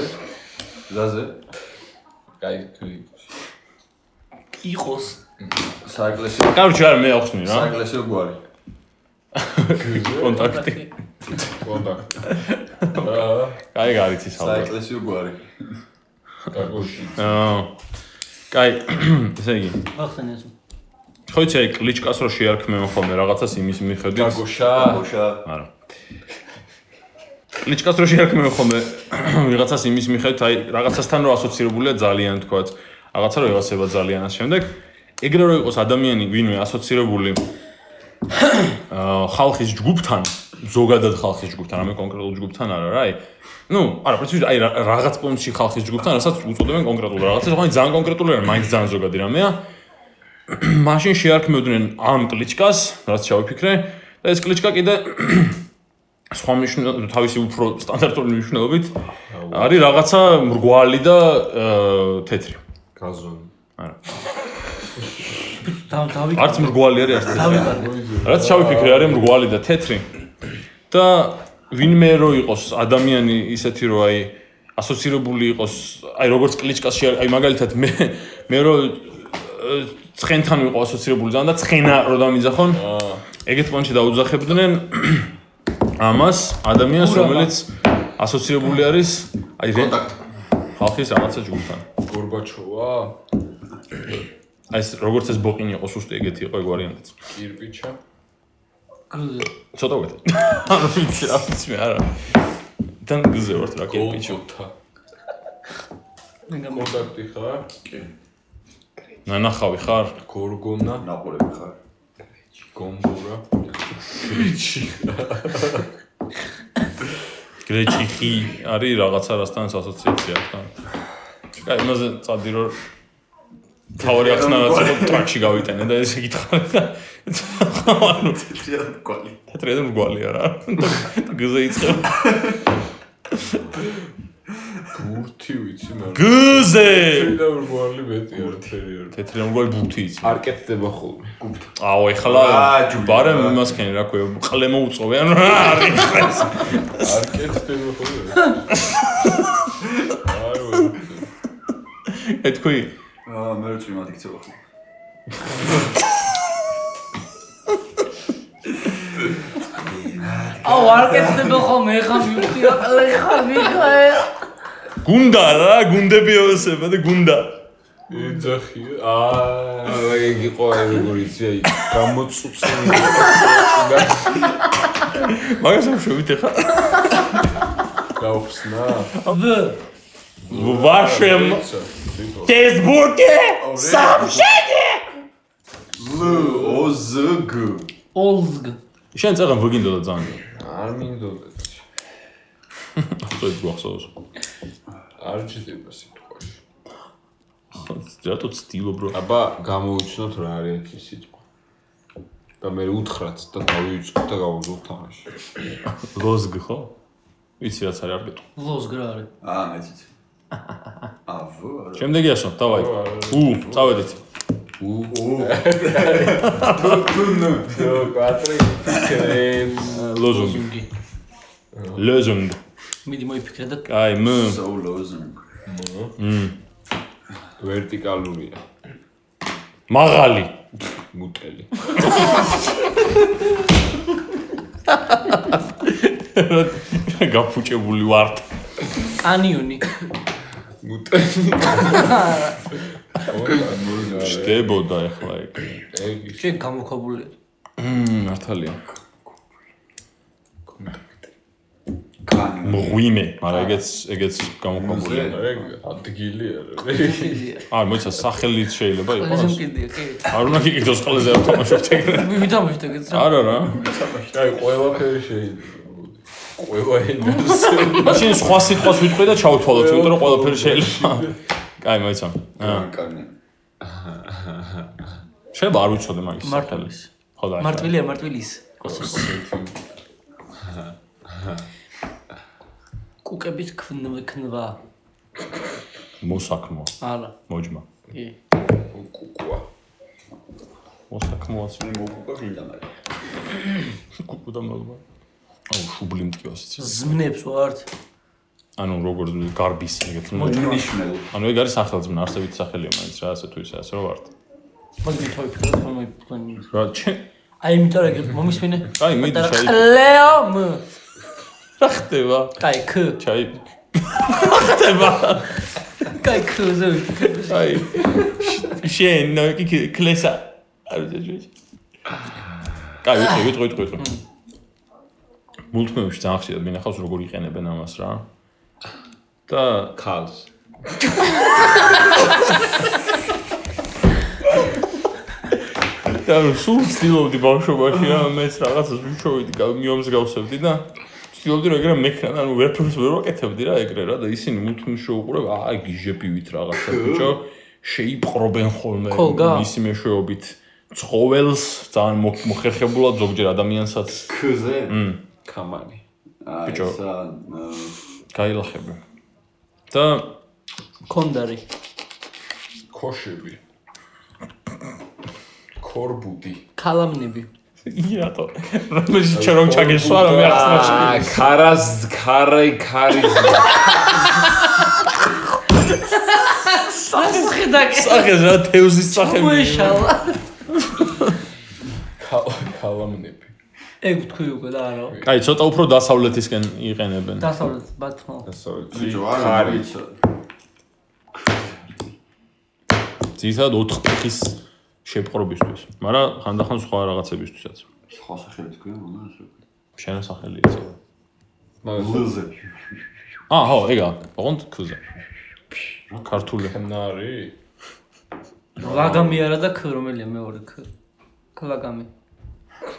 Speaker 9: რაზე
Speaker 1: აი კი.
Speaker 4: იყოს
Speaker 9: საეკლესიო
Speaker 2: კარჩე არ მე ახსნი რა
Speaker 9: საეკლესიო გვარი
Speaker 2: კონტაქტი
Speaker 1: კონტაქტი. აა
Speaker 2: აი გარიცის ალბათ
Speaker 9: საეკლესიო გვარი
Speaker 1: გაგოში.
Speaker 2: აა კაი ესე იგი
Speaker 4: გახსენე ასო.
Speaker 2: ხო იცი აი კლიჩკას რო შეარქმევენ ხოლმე რაღაცას იმის მიხედვით
Speaker 1: გაგოშა.
Speaker 9: ოშა
Speaker 2: კლიჩკას რო შეარქმევენ ხოლმე ვიღაცას იმის მიხედვით აი რაღაცასთან რო ასოცირებულია ძალიან თქვა რაღაცა რო ევასება ძალიან ამ შემდეგ ეგრე რო იყოს ადამიანი ვინმე ასოცირებული აა ხალხის ჯგუფთან ზოგადად ხალხის ჯგუფთან რამე კონკრეტულ ჯგუფთან არა რა აი ну არა პრინციპში აი რა- რაღაც პონჩი ხალხის ჯგუფთან რასაც უწოდებენ კონკრეტულ რაღაცას ხო აი ძალიან კონკრეტული არა მაინც ძალიან ზოგადი რამეა მაშინ შეარქმევდნენ ამ კლიჩკას რაც შევიფიქრე და ეს კლიჩკა კიდე სხვა მნიშვნელობით თავისი უფრო სტანდარტული მნიშვნელობით არის რაღაცა მრგვალი და აა, თეთრი.
Speaker 1: გაზონი.
Speaker 4: და დავი
Speaker 2: არც მრგვალი არის არც თეთრი.
Speaker 4: დავი
Speaker 2: რაც შავიფიქრე არის მრგვალი და თეთრი. და ვინმე რო იყოს ადამიანი ისეთი რო აი ასოცირებული იყოს აი როგორც კლიჩკაში არ- აი მაგალითად მე მე რო აა, ცხენთან ვიყო ასოცირებული ძალიან და ცხენა რო დამიძახონ
Speaker 1: აა
Speaker 2: ეგეთ პონჩი დაუძახებდნენ ამას ადამიანს რომელიც ასოცირებული არის აი რე- ხალხის რაღაცა ჯგუფთან.
Speaker 1: გორბაჩოვა,
Speaker 2: აი ეს როგორც ეს ბოყინი იყო სუსტი ეგეთი იყო ეგ ვარიანტიც.
Speaker 1: კირპიჩა.
Speaker 4: გრუზი
Speaker 2: ცოტა უკეთე. არ ვიცი რა ვიცი მე არა. თან გზე ვარ რა კირპიჩო.
Speaker 1: გოლგოთა.
Speaker 4: მეგამო
Speaker 1: კონტაქტი ხარ?
Speaker 2: ნანახავი ხარ?
Speaker 1: გორგონა.
Speaker 9: ნაპოლები ხარ
Speaker 1: გომბურა.
Speaker 2: გრეჩი ხი არის რაღაცა რასთან ასოციაცია ხა. ჩაკა იმაზე წადი რომ თავი ახსნა რაღაცა ტრაკში გავიტანე და ესე გითხარ და ანუ
Speaker 9: თეთრიან გვალი.
Speaker 2: თეთრი და მრგვალი არა. და გზე იწება.
Speaker 1: ბურთი ვიცი მაგრამ.
Speaker 2: გზე
Speaker 1: და მრგვალი მეტი არ თერი არ.
Speaker 2: თეთრი და მრგვალი ბურთი იწება.
Speaker 1: არ კეთდება ხოლმე.
Speaker 2: აუ ეხლა
Speaker 9: ვაჯული,
Speaker 2: ბარემ
Speaker 9: რა.
Speaker 2: იმას ქენი რა ქვია ყლე მოუწოვე ანუ რა არის ხეს
Speaker 1: არ კეთდება ხოლმე. არ ვარ.
Speaker 2: ეთქვი
Speaker 9: აა მე როც ვიმად იქცევა ხო.
Speaker 3: აუ არ კეთდება ხოლმე ხა მივხვდი რა ყალე ხა მიხაე
Speaker 2: გუნდა რა გუნდები ოსება და გუნდა
Speaker 1: იძახი. აა, ეგ იყო აი როგორ იცი აი გამოწუწნილი
Speaker 2: მაგას ამშვებით ეხლა
Speaker 1: გავხსნა.
Speaker 4: ვ
Speaker 2: ვაშემ
Speaker 1: რითო.
Speaker 2: ტესბურგე სამშენი
Speaker 9: ლ ო ზ გ.
Speaker 3: ოლზგ
Speaker 2: შენ წაღან ვიგინდოდა ძალიან
Speaker 1: არ მინდოდა.
Speaker 2: ხოწოი გვახსოვს
Speaker 1: არ ჩიტება სიტყვაში.
Speaker 2: რატო ცდილობ რომ
Speaker 1: აბა, გამოვიცნოთ რა არის აქ ის სიტყვა. და მე უთხრათ და დავივიწყოთ და გავუძულოთ თამაში.
Speaker 2: ლოზგ ხო ვიცი რაც არის არ გეტყვი
Speaker 4: ლოზგ რა არის?
Speaker 9: აა მეც იცი. ა ვ არა.
Speaker 2: შემდეგი ასო დავაი უ წავედით
Speaker 1: უ
Speaker 9: ნუ
Speaker 1: დო კვატრი კრემ
Speaker 2: ლოზუნგი
Speaker 4: ლოზუნგი.
Speaker 2: ლოზუნგი
Speaker 4: მიდი მოიფიქრე და
Speaker 2: აი მ
Speaker 9: so losing.
Speaker 1: ვერტიკალურია,
Speaker 2: მაღალი
Speaker 1: მუტელი.
Speaker 2: გაფუჭებული ვარ
Speaker 4: კანიონი.
Speaker 1: მუტელი.
Speaker 2: შდებოდა ახლა ეგ.
Speaker 1: ეგ ის
Speaker 4: შენ გამოქვაბულია.
Speaker 2: მართალია.
Speaker 9: კანი.
Speaker 2: მღვიმე, მაგრამ ეგეც ეგეც გამოქვაბულია.
Speaker 1: ეგ ადგილია რა.
Speaker 4: კიდია.
Speaker 2: არ მოიცა სახელით შეიძლება იყოს.
Speaker 4: ლოზუნგი კიდია, კი.
Speaker 2: არ უნდა გიგდოს ყველაზე არ თამაშობთ ეგ.
Speaker 4: მე ვითამაშეთ ეგეც რა.
Speaker 2: არა რა.
Speaker 1: აი ყველაფერი შეიძლება. ყველა ენაზე.
Speaker 2: მაშინ სხვა სიტყვას ვიტყვი და ჩავთვალოთ, იმიტომ რომ ყველაფერი შეიძლება. კაი, მოიცა. აა,
Speaker 9: კანი.
Speaker 2: შეიძლება არ ვიცოდე მაგის.
Speaker 4: მარტვილის.
Speaker 2: ხო და.
Speaker 4: მარტვილია, მარტვილის. კუკებით ქნვ ქნვა.
Speaker 2: მოსაკმო,
Speaker 4: არა.
Speaker 2: მოჯმა.
Speaker 4: კი.
Speaker 1: კუკვა.
Speaker 2: მოსაკმოაც
Speaker 9: მე მოგუყვა გინდა მაგრამ.
Speaker 2: კუკუ და მოგმა. აუ, შუბლი მტკიოს იცი.
Speaker 4: ზმნებს ვართ.
Speaker 2: ანუ როგორც გარბის ეგეთ.
Speaker 9: უნიშნელ.
Speaker 2: ანუ ეგ არის სახელმწიფო, არსებითი სახელია მაინც რა, ასე თუ ისე, ასე რომ ვართ.
Speaker 4: მოდი თოიფიქროთ, ხოლმე მოიფიქროთ.
Speaker 2: რა, ჩემ
Speaker 4: აი, იმიტომ რომ ეგ მომისმინე.
Speaker 2: აი, მიდი, ჩაი.
Speaker 4: ლეო მ.
Speaker 2: რა ხდება?
Speaker 4: კაი ქ.
Speaker 2: ჩაი. ხდება.
Speaker 4: კაი ქზე ვიფიქრე.
Speaker 2: აი. შ- შენ ნო კი კი, კლესა. არ უძეჭვი. კაი, ვიტყვი, ვიტყვი, ვიტყვი, ვიტყვი. მულტფილმში ძალიან ხშირად მინახავს როგორ იყენებენ ამას რა. და
Speaker 1: ქალს.
Speaker 2: და სულ ვცდილობდი ბავშვობაში რა მეც რაღაცას ვიშოვიდი, გა- მიომსგავსებდი და ვცდილობდი რომ ეგრე მექნად, ანუ ვერაფერს ვერ ვაკეთებდი რა ეგრე რა და ისინი მუთმ შეუყურებ, აა გიჟებივით რაღაცა ბიჭო, შეიპყრობენ ხოლმე
Speaker 4: ქოლგა?
Speaker 2: მისი მეშვეობით ცხოველს, ძალიან მო- მოხერხებულად ზოგჯერ ადამიანსაც
Speaker 9: ქზე.
Speaker 1: კამანი.
Speaker 9: აი
Speaker 2: ბიჭო.
Speaker 9: ესა
Speaker 2: გაილახები. და
Speaker 4: კონდარი.
Speaker 1: ქოშები. კორბუდი.
Speaker 4: კალამნები.
Speaker 2: იატო, რომელიც ჩვენ რომ ჩაგესვა რა მე ახსნა.
Speaker 1: აა, ქარას, ქარი, ქარის.
Speaker 4: სხედაკე.
Speaker 2: სახეს რა თევზის სახელი.
Speaker 4: მოეშალა.
Speaker 1: ქალამნები.
Speaker 4: ეგ ვთქვი უკვე და არა.
Speaker 2: კაი, ცოტა უფრო დასავლეთისკენ იყენებენ.
Speaker 4: დასავლეთ ბათმა.
Speaker 1: დასავლეთი.
Speaker 9: ბიჭო არა ვიცი.
Speaker 2: ძირითადად ოთხ ფეხის შეპყრობისთვის, მაგრამ ხანდახან სხვა რაღაცებისთვისაც.
Speaker 9: სხვა სახელი თქვენ უნდა ასე.
Speaker 2: შენ რა სახელი ეცი?
Speaker 1: მაგრამ
Speaker 9: ლზე.
Speaker 2: აა, ხო, ეგა. ოღონდ ქუზა. რა ქართული.
Speaker 1: ხნარი?
Speaker 4: ლაგამი არა და ქ რომელია მეორე ქ. ქლაგამი.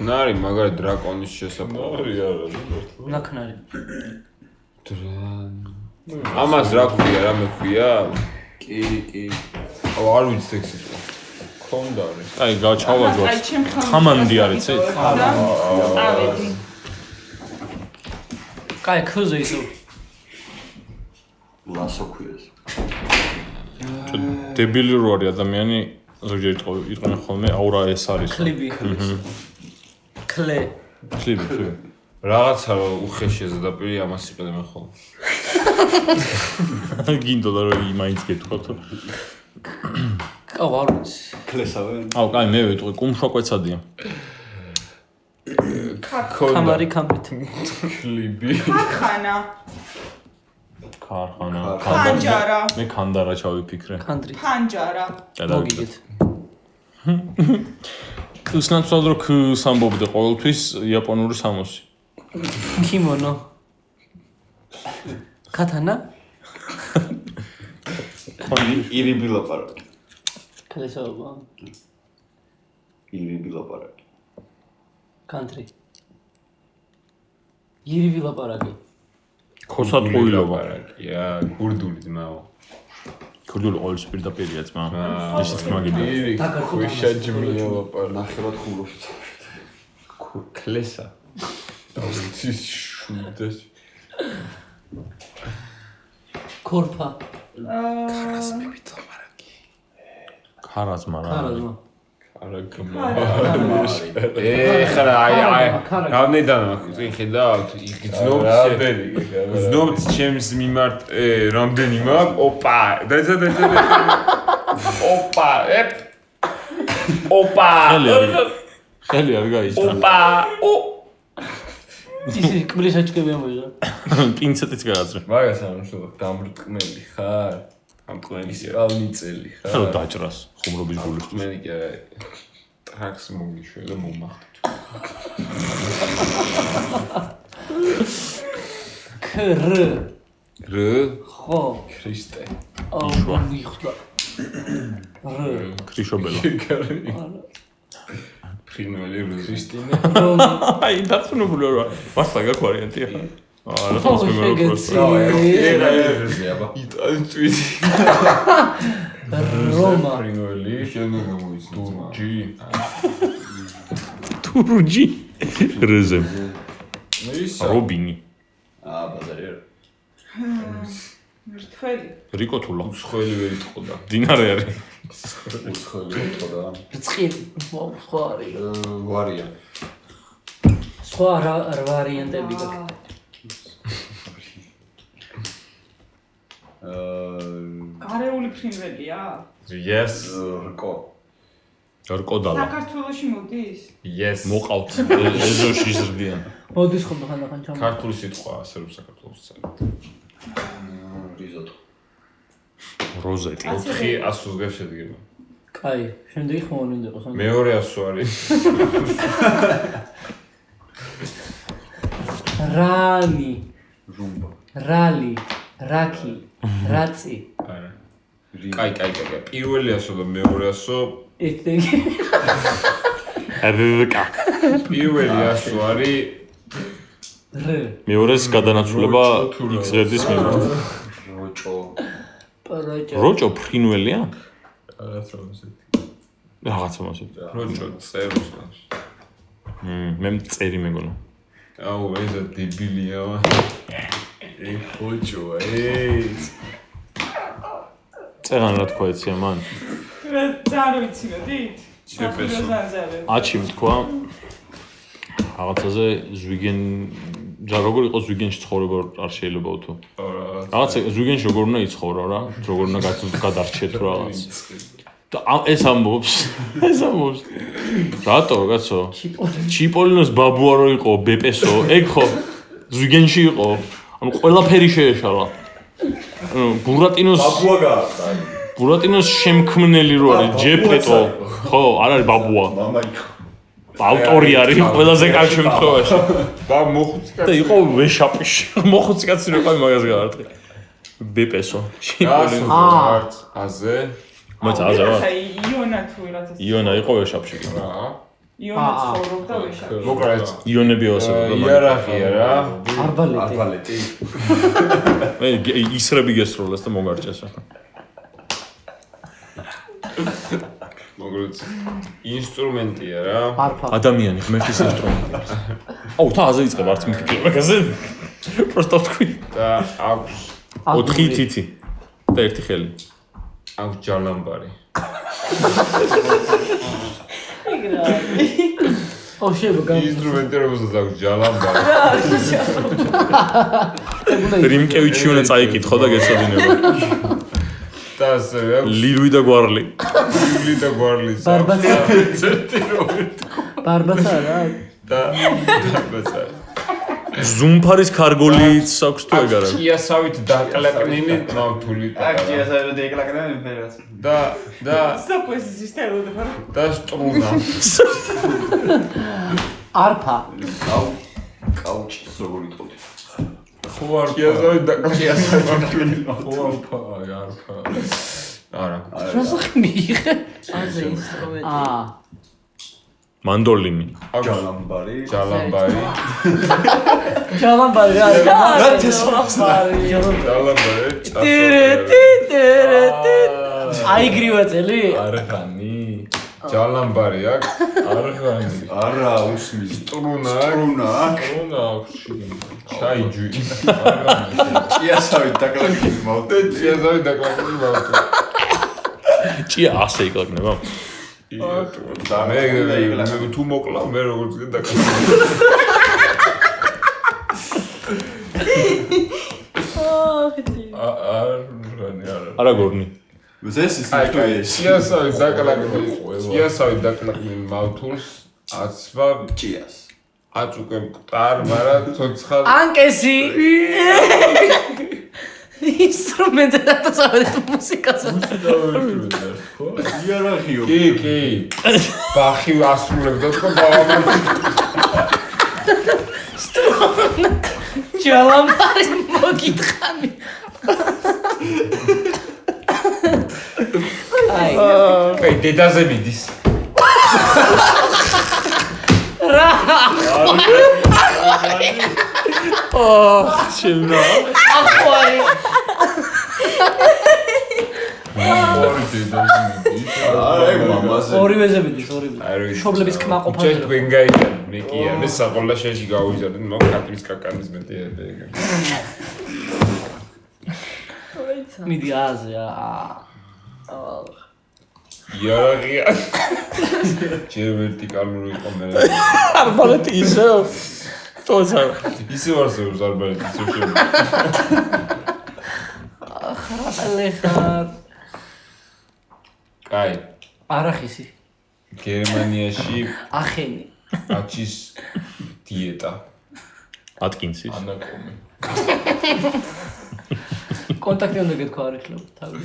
Speaker 1: ნარი მაგარი დრაკონის შესაძლებლობა.
Speaker 2: არის არა.
Speaker 4: ნაკნარი.
Speaker 1: ამას რა ქვია, რა მექვია?
Speaker 9: კი, კი.
Speaker 1: აუ, არ ვიცი ექსის. კონდარი.
Speaker 2: აი, გაჩავაჯვა. ხამანდი არის ეს?
Speaker 8: ავედი.
Speaker 4: კაი, ქუზე ისო.
Speaker 9: ლასო ქვიეს.
Speaker 2: დებილი რო არის ადამიანი, ზოგჯერ იტყო- იტყვიან ხოლმე, აურა ეს არის.
Speaker 4: კლიბი. კლე.
Speaker 2: ქლიბი, ქლიბი.
Speaker 1: რაღაცა რო უხეშია ზედაპირი ამას იყენებენ ხოლმე.
Speaker 2: გინდოდა რომ ი- მაინც გეთქვა თუ.
Speaker 4: კა ვარ ვიცი.
Speaker 9: კლესავე.
Speaker 2: აუ, კაი, მე ვიტყვი, კუმშვა კვეცადია.
Speaker 4: კამარი კამპით.
Speaker 2: ქლიბი.
Speaker 8: ხანა,
Speaker 2: ქარხანა.
Speaker 8: ხანჯარა,
Speaker 2: მე კანდარა ჩავიფიქრე.
Speaker 4: კანდრი.
Speaker 8: ხანჯარა.
Speaker 2: და დავიკეთე.
Speaker 4: მოგიგეთ.
Speaker 2: ხსნაცვლად რო ქს ამბობდი ყოველთვის იაპონური სამოსი.
Speaker 4: ქიმონო. კათანა?
Speaker 9: ირიბი ლაპარაკი.
Speaker 4: კლესაობა.
Speaker 9: ირიბი ლაპარაკი.
Speaker 4: კანტრი. ირივი ლაპარაკი.
Speaker 2: ქოსატყუილობა.
Speaker 1: ია, გურდული ძმაო.
Speaker 2: ქურდული ყოველთვის პირდაპირია ძმა.
Speaker 1: აა,
Speaker 2: ისიც კი მაგიდია.
Speaker 1: ივი,
Speaker 4: დაკარგო
Speaker 1: ქვიშა ჯმია ლაპარაკი.
Speaker 9: ნახევად ხუმრობთ.
Speaker 1: კლესა. დავიცი შუდეს.
Speaker 4: ქორფა.
Speaker 2: ქარაზმა რა. არის.
Speaker 4: კარაზმა.
Speaker 1: არა გმა. ე, ხარ აი აი რამდენიდან მაქვს წინ ხედავთ, იგრძნობთ
Speaker 2: რამდენი,
Speaker 1: გრძნობთ ჩემს მიმართ ე, რამდენი მაქვს? ოპა, დაიცა დაიცა. ოპა, ე ოპა,
Speaker 2: ხელი არის. ხელი არ გაიჭრა.
Speaker 1: ოპა, ო
Speaker 4: ისი კბლის აჩქები ამოიღა.
Speaker 2: პინცეტიც გააძრა.
Speaker 1: მაგას ამშობ დამრტყმელი ხარ? ამ ტყმელის ალმიწელი
Speaker 2: რა რომ დაჭრას ხუმრობის გულისთვის.
Speaker 1: ტყმენი კი არა. ტრაქს მოგიშვე და მომახდით.
Speaker 4: ქრ.
Speaker 1: რ
Speaker 4: ხო.
Speaker 1: ქრისტე.
Speaker 4: აუ მიხვდა. რ.
Speaker 2: ქრიშობელა.
Speaker 1: ფრინველი რ ქრისტე.
Speaker 2: აი დაწუნებული რა. მასლა გაქვს ვარიანტი ახლა. არა,
Speaker 4: ხო
Speaker 2: თავს მე რა
Speaker 4: შეგეცი.
Speaker 2: პროსტა.
Speaker 1: ეგა ეზია აბა. იტანწვის
Speaker 4: რომა.
Speaker 1: ფრინველი შენ გამოიცნო. დურჯი.
Speaker 2: თურჯი. რზე.
Speaker 1: მე ისა.
Speaker 2: რობინი.
Speaker 9: აა ბაზარი არა.
Speaker 8: მრთველი.
Speaker 2: რიკო თულა.
Speaker 1: უცხოელი ვერ იტყოდა.
Speaker 2: დინარე არის.
Speaker 1: უცხოელი იტყოდა.
Speaker 4: წყილი. ვაუ, ხო არის.
Speaker 1: აა, ვარია.
Speaker 4: სხვა რა რა ვარიანტები გაქვს?
Speaker 9: აა
Speaker 8: გარეული ფრინველია?
Speaker 2: Yes.
Speaker 9: რკო.
Speaker 2: რკოდალა.
Speaker 8: საქართველოსში მოდის?
Speaker 1: Yes.
Speaker 2: მოყავთ ეზოში ზრდიან.
Speaker 4: მოდის ხოლმე ხანდახან ჩამ.
Speaker 1: ქართული სიტყვა ასე რომ საქართველოს წელი.
Speaker 9: რიზოტო.
Speaker 2: როზეტი.
Speaker 1: 400 ზგა შედგება.
Speaker 4: კაი, შემდეგი ხომ არ მინდა იყოს? მე
Speaker 1: მეორე 100 არის.
Speaker 4: რანი,
Speaker 9: რუმბა.
Speaker 4: რალი, რაკი, რაცი.
Speaker 1: არა. კაი, კაი, კაი, კაი. პირველი 100 და მეორე 100.
Speaker 4: ესეთი
Speaker 2: რკა.
Speaker 1: პირველი 100 არის
Speaker 4: რ,
Speaker 2: მეორეს გადანაცვლება XZ-ის მიმართ.
Speaker 9: როჭო.
Speaker 4: პროჭო,
Speaker 2: როჭო ფრინველია?
Speaker 1: რაღაც რომ ესეთი.
Speaker 2: რაღაცა მოსი.
Speaker 1: როჭო წეროს მას.
Speaker 2: მმ, მე წერი მეგონა.
Speaker 1: აუ, ესა დებილია. ე, ხოჭო, ე.
Speaker 2: წეგან რა თქვა ეცია მან?
Speaker 8: რა ძალიან ვიცინოდით?
Speaker 1: GPS-ო.
Speaker 8: ზანზარე.
Speaker 2: აჩი მთქვა. რაღაცაზე ზვიგენ და როგორ იყოს ზვიგენში ცხოვრება არ შეიძლებაო თუ.
Speaker 1: რაღაც
Speaker 2: რაღაცა ზვიგენში როგორ უნდა იცხოვრო რა? როგორ უნდა გაც- გადარჩეთ რა რაღაც. და ამ- ეს ამბობს. ეს ამბობს. რატო, კაცო? ჩიპოლინოს ბაბუა რო იყო ბეპესო, ეგ ხო ზვიგენში იყო. ანუ ყველაფერი შეეშალა. ანუ ბურატინოს
Speaker 9: აბუა გააკა.
Speaker 2: ბურატინოს შემქმნელი რო არის ჯეპეტო. ხო, არ არის ბაბუა.
Speaker 9: მამა იყო.
Speaker 2: ავტორი არის ყველაზე კარგ შემთხვევაში.
Speaker 1: და მოხუცი
Speaker 2: და იყო ვეშაპში. მოხუცი კაცი რო ყავი მაგას გაარტყი. ბეპესო.
Speaker 1: კაცი
Speaker 2: ჩიპოლინო.
Speaker 1: არც აზე
Speaker 2: მოიცა, აზა რა.
Speaker 8: იონა თუ რაღაცა.
Speaker 2: იონა იყო ვეშაპში კი.
Speaker 1: რა
Speaker 8: იონა
Speaker 4: აა.
Speaker 8: ცხოვრობდა ვეშაპში.
Speaker 1: მოკლედ
Speaker 7: იონები ასებდა.
Speaker 1: იარაღია რა.
Speaker 4: არბალეტი.
Speaker 1: არბალეტი.
Speaker 2: მე გე- ისრები გესროლეს და მოგარჭეს ახლა.
Speaker 1: მოკლედ ინსტრუმენტია რა.
Speaker 4: არფა.
Speaker 2: ადამიანი ღმერთის ინსტრუმენტი. აუ, თა აზე იწყება არც მიფიქრე მაგაზე. პროსტო თქვი.
Speaker 1: და აქვს
Speaker 2: 4 თითი და ერთი ხელი.
Speaker 1: აქვს ჯალამბარი.
Speaker 3: ო შეიძლება გამიგზა.
Speaker 1: ინსტრუმენტი რომელსაც აქვს ჯალამბარი.
Speaker 2: რიმკევიჩი უნდა წაიკითხო და გეცოდინება.
Speaker 1: და ასევე აქვს
Speaker 2: ლირვი და გვარლი.
Speaker 1: ლილი და გვარლის აქვს
Speaker 3: ბარბაცა,
Speaker 1: ერთი რომელი
Speaker 3: ბარბაცა რა.
Speaker 1: და ბარბაცა.
Speaker 2: ზუმფარის ქარგოლიც აქვს თუ ეგ არა?
Speaker 1: იასავით დაკლაკნილი ნავთული პატარა.
Speaker 9: ასე რომ დეკლაკრები ფერას.
Speaker 1: და და
Speaker 8: საპოზის ისტეროდება.
Speaker 1: და სტრუნა.
Speaker 3: არფა.
Speaker 9: კაუჩის როგორ იყოთ?
Speaker 1: ხო არ იასავით დაკლაკნილი ნავთული. ხო არფა, არფა. არა.
Speaker 4: რას ხმიხე?
Speaker 10: აზე ინსტრუმენტი.
Speaker 3: აა.
Speaker 2: მანდოლინი.
Speaker 1: აქვს
Speaker 9: ჯალამბარი.
Speaker 1: ჯალამბარი.
Speaker 3: ჯალამბარი რა. არის?
Speaker 10: რა თესლახსნა.
Speaker 1: ჯალამბარი.
Speaker 3: აიგრივა წელი?
Speaker 1: არღანი. ჯალამბარი აქვს. არღანი.
Speaker 9: არა, უსმის.
Speaker 1: სტრუნა აქვს.
Speaker 9: რუნა აქ
Speaker 1: სტრუნა აქვს. ჩაიჯვი.
Speaker 9: იასავით დაკლაკრები
Speaker 1: და
Speaker 9: მოვდეთ.
Speaker 1: ძიაზავი დაკლაკული მარტო.
Speaker 2: ჭია ასე იკლაკნება.
Speaker 9: და
Speaker 1: მე
Speaker 9: მე
Speaker 1: მე
Speaker 9: მე
Speaker 1: თუ მოკლა მე როგორც კი დაკლაკული.
Speaker 10: ახ, ძი.
Speaker 1: 아, არღანი არა.
Speaker 2: არა გორნი.
Speaker 9: ეს ის ის
Speaker 1: სიასავი დაკლაკული. სიასავი დაკლაკული მავთულს აცვა
Speaker 9: ჭიას.
Speaker 1: აც უკვე მკტარ, მაგრამ ცოცხალ
Speaker 3: ანკესი.
Speaker 10: ინსტრუმენტი და წავედით მუსიკაზე.
Speaker 9: იარაღიო.
Speaker 1: კი, კი. ბახი ასრულებდა თქო ბაბა.
Speaker 10: ჯალამბარი მოგითხანი.
Speaker 3: აი.
Speaker 1: კაი, დედაზე მიდის.
Speaker 2: შევნა.
Speaker 1: ორი დედაზე მიდის.
Speaker 9: აი მამაზე.
Speaker 4: ორივეზე მიდის, ორივე.
Speaker 1: არ ვიცი.
Speaker 4: მშობლების კმა ყოფა.
Speaker 1: ჩვენ თქვენ გაიგეთ, მე კი არა, მე საყოლა შეში გავიზარდეთ, მაგ კატვის კაკანის მეტი ეგ.
Speaker 3: მიდი აზე აა.
Speaker 1: იარაღია. ჯერ ვერტიკალური იყო მე.
Speaker 2: არბალეტი ისე. თოცა.
Speaker 1: ისე ვარ ზევს არბალეტი ისე შევიდა.
Speaker 3: ლეხარ.
Speaker 1: კაი,
Speaker 4: არახისი,
Speaker 1: გერმანიაში
Speaker 4: ახენი.
Speaker 1: აჩის დიეტა.
Speaker 2: ატკინსის.
Speaker 1: ანაკომი.
Speaker 4: კონტაქტი უნდა გეთქვა არ ეხლა თავი.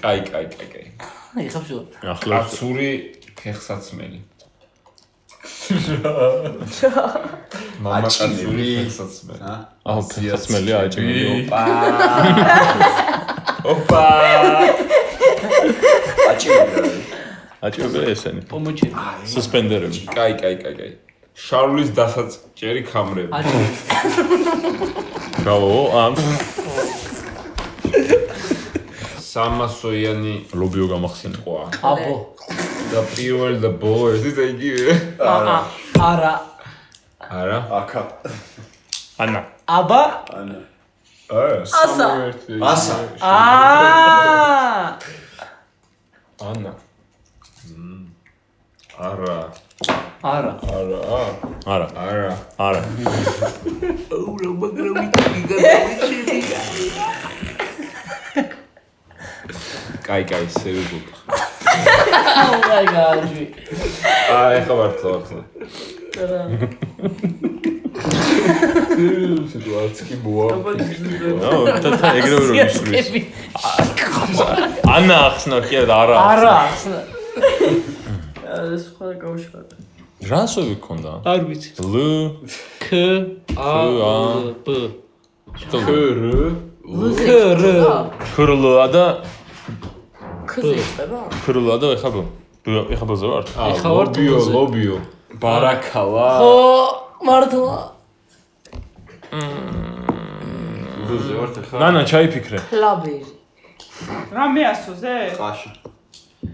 Speaker 1: კაი, კაი, კაი, კაი.
Speaker 4: აი ხაბშო.
Speaker 2: ახლა
Speaker 1: კაცური ფეხსაცმელი. მამა კაცური
Speaker 9: აჩინები.
Speaker 1: ფეხსაცმელი.
Speaker 2: აუ, ფეხსაცმელი აჭიმი.
Speaker 1: ოპა.
Speaker 9: აჭირდა.
Speaker 2: აჭიმი ესენი.
Speaker 4: პომოჩი.
Speaker 2: სუსპენდერები.
Speaker 1: კაი, კაი, კაი, კაი. შარლის დასაჭერი ქამრები.
Speaker 4: აჭი.
Speaker 2: ბრავო, ამ
Speaker 1: 300-იანი
Speaker 2: ლობიო გამახსენა.
Speaker 1: ყვა
Speaker 4: აბო.
Speaker 1: და პირველ და ბოლო ერთი და იგივე.
Speaker 4: აა არა.
Speaker 1: არა?
Speaker 9: აკა.
Speaker 2: ანა.
Speaker 4: აბა.
Speaker 9: ანა.
Speaker 1: არა, სამოერთი.
Speaker 9: ასა.
Speaker 4: აა.
Speaker 1: ანა. არა,
Speaker 4: არა.
Speaker 1: არა,
Speaker 2: არა,
Speaker 1: არა.
Speaker 2: არა.
Speaker 1: კაი, კაი, სერიოზულად.
Speaker 3: აი გააჯი.
Speaker 1: აი, ახლა მართლა მართლა. სიტუაცია მოა.
Speaker 2: ნო, თათა ეგრევე რომ ისვის. ანა ახსნა კი არა, არა.
Speaker 3: არა.
Speaker 10: ეს სხვა გავშვა.
Speaker 2: რასოვი გქონდა?
Speaker 4: არ ვიცი.
Speaker 2: ლ
Speaker 4: ქ
Speaker 2: ა.
Speaker 4: ა ბ.
Speaker 1: ქრ
Speaker 4: ქ რ.
Speaker 2: ქრლა და
Speaker 10: ქზე იწყება?
Speaker 2: ქრლა და ეხა ბო. ეხა ბაზე ვარ.
Speaker 1: აა,
Speaker 4: ეხა ვარ
Speaker 1: ლობიო,
Speaker 4: ტურზე.
Speaker 1: ლობიო.
Speaker 9: ბარაკალა.
Speaker 4: ხო, მართლა.
Speaker 1: ბუზე ვარ ხა.
Speaker 2: ნანა ჩაიფიქრე.
Speaker 10: კლაბერი.
Speaker 8: რამე ასოზე?
Speaker 1: ყაში.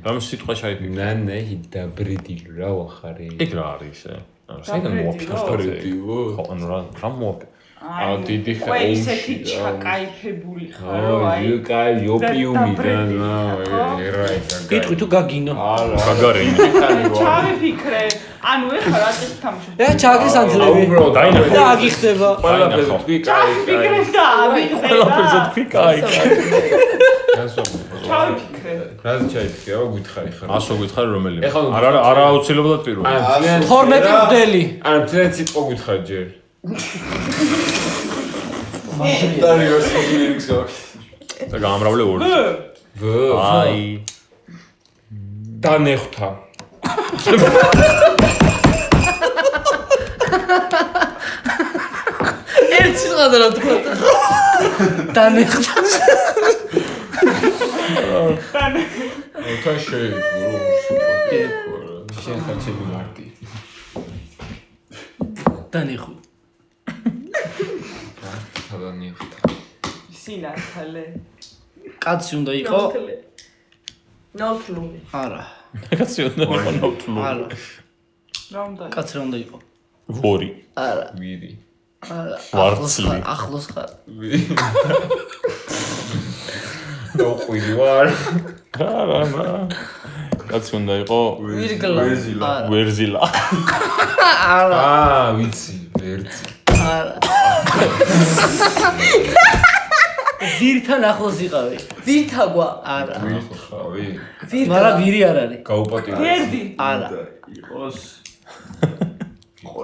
Speaker 2: რამ სიტყვა ჩაიფიქრე.
Speaker 9: ნანაი დაბრიდილ რა ვახარი.
Speaker 2: ეგ რა არის ისე? არა, საიდან მოაფიქრეს და ეგ?
Speaker 1: დიო.
Speaker 2: ხო, ანუ რა რა მოაფიქრე?
Speaker 8: აი,
Speaker 1: დიდი ხარ,
Speaker 8: ყველა
Speaker 1: ომში,
Speaker 8: ისეთი
Speaker 1: რა,
Speaker 8: ჩაკაიფებული ხარო, აი.
Speaker 1: აი, კაი, ოპიუმიდან,
Speaker 8: დაბრდილი,
Speaker 1: აა,
Speaker 8: ხო?
Speaker 1: ერაი და კაი.
Speaker 4: იტყვი თუ გაგინო.
Speaker 1: არა.
Speaker 2: გაგარენი.
Speaker 1: ხანი ვარ.
Speaker 8: ჩავიფიქრე. ანუ ეხლა რა წეს თამაშობ?
Speaker 4: ე ჩააგდეს ამ ძლები.
Speaker 1: უბრალოდ
Speaker 2: დაინახე.
Speaker 4: და აგიხდება.
Speaker 1: ყველაფერი
Speaker 2: აინახო.
Speaker 1: თქვი კაი.
Speaker 8: ჩავიფიქრე და ავიღე.
Speaker 2: ყველაფერზე თქვი კაი.
Speaker 8: ჩავიფიქრე.
Speaker 1: რა შეიძლება რა გითხარი ხარ?
Speaker 2: ასო გითხარი რომელია?
Speaker 1: ეხლა
Speaker 2: არა არა არა აუცილებლად პირველი.
Speaker 4: 12 მდელი.
Speaker 1: არ მთლიანად სიტყვა გითხარ ჯერ.
Speaker 9: დარიოს გილიქსო.
Speaker 2: და გამრავლე ორი.
Speaker 1: ვ
Speaker 2: აი.
Speaker 1: და ნეხთა.
Speaker 10: ერთ სიტყვაზე რა თქვა.
Speaker 4: დანეხდა.
Speaker 1: ოთა შეიძლება რომ შევაკეთო რა.
Speaker 9: შენ ხარ ჩემი მარტი.
Speaker 4: დანეხო.
Speaker 1: და ნეხთა.
Speaker 8: სინათლე.
Speaker 4: კაცი უნდა იყო.
Speaker 10: ნოთლული.
Speaker 4: არა.
Speaker 2: კაცი უნდა იყოს ნავთლუ.
Speaker 4: არა.
Speaker 8: რა უნდა
Speaker 4: კაცი რა უნდა იყო?
Speaker 2: ვორი.
Speaker 4: არა.
Speaker 1: ვირი.
Speaker 4: არა. ახლოს
Speaker 2: ვარცლი.
Speaker 4: ხარ, ახლოს ხარ.
Speaker 1: და ყვილი ვარ.
Speaker 2: არა არა. კაცი უნდა იყო
Speaker 10: ვირგლა.
Speaker 4: არა.
Speaker 2: ვერზილა.
Speaker 1: აა, ვიცი, ვერცი.
Speaker 4: ძირთან ახლოს იყავი.
Speaker 10: ვირთაგვა.
Speaker 4: არა.
Speaker 1: ვიხავი.
Speaker 4: მაგრამ ვირი არ არის.
Speaker 1: გაუპატიო.
Speaker 8: გერდი.
Speaker 4: არა. იყოს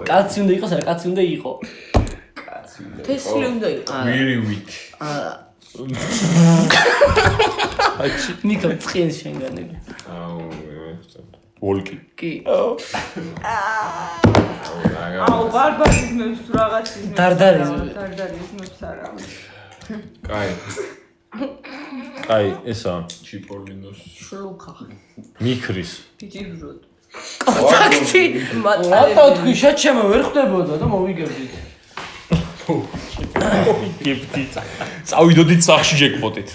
Speaker 4: კაცი უნდა იყოს, არა კაცი უნდა იყო.
Speaker 10: თესლი უნდა იყოს.
Speaker 1: ვირივით.
Speaker 4: არა. ნიკა წინ შენგანები.
Speaker 1: აუ, ეხლა.
Speaker 2: ვოლკი.
Speaker 4: კი.
Speaker 1: აა,
Speaker 8: აუ, ბარბარიზმებს თუ რაღაც იზმებს.
Speaker 4: დარდარიზმი.
Speaker 8: დარდარიზმებს არა.
Speaker 1: კაი,
Speaker 2: აი, ესა.
Speaker 1: ჩიპოლინოს.
Speaker 10: შლუქა.
Speaker 2: მიქრის.
Speaker 10: ფიჭიბროდ.
Speaker 4: ტაქტი. რატო თქვი შეჩემო ვერ ხდებოდა და მოვიგებდით.
Speaker 2: გიფტი. წავიდოდით სახში ჯეკპოტით.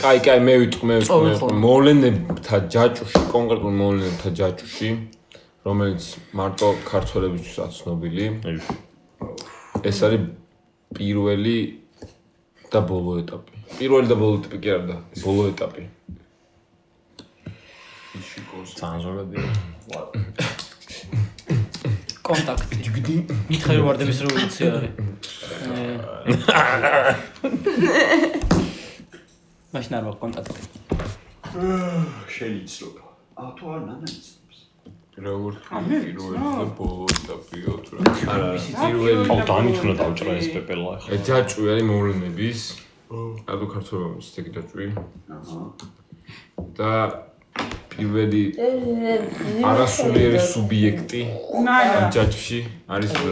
Speaker 1: კაი, კაი, მე ვიტყვი, მე ვიტყვი, მე
Speaker 4: წავიხო.
Speaker 1: ვიტყვი. მოვლენებთა ჯაჭვში, კონკრეტულ მოვლენებთა ჯაჭვში, რომელიც მარტო ქართველებისთვის აცნობილი,
Speaker 2: აი,
Speaker 1: ეს არის პირველი და ბოლო ეტაპი. პირველი და ბოლო ეტაპი კი არ და, ბოლო ეტაპი.
Speaker 2: ძალიან ზოგადია.
Speaker 4: კონტაქტი. მითხარი ვარდების რევოლუცია არის. ე. მაშინ არ ვარ კონტაქტი.
Speaker 5: შეიძლება. ა თუ არ ნანაც.
Speaker 1: როგორც პირველი და ბოლო ეტაპიო თუ რა. არა,
Speaker 8: რა
Speaker 1: პირველი.
Speaker 2: აუ, დანიშნა დავჭრა ეს პეპელა ახლა.
Speaker 1: ეს ჯაჭვი არის მოვლენების. ადო ქართველებს ეგ ჯაჭვი. და პირველი არასულიერი სუბიექტი
Speaker 8: ნანა.
Speaker 1: ჯაჭვში არის ბ.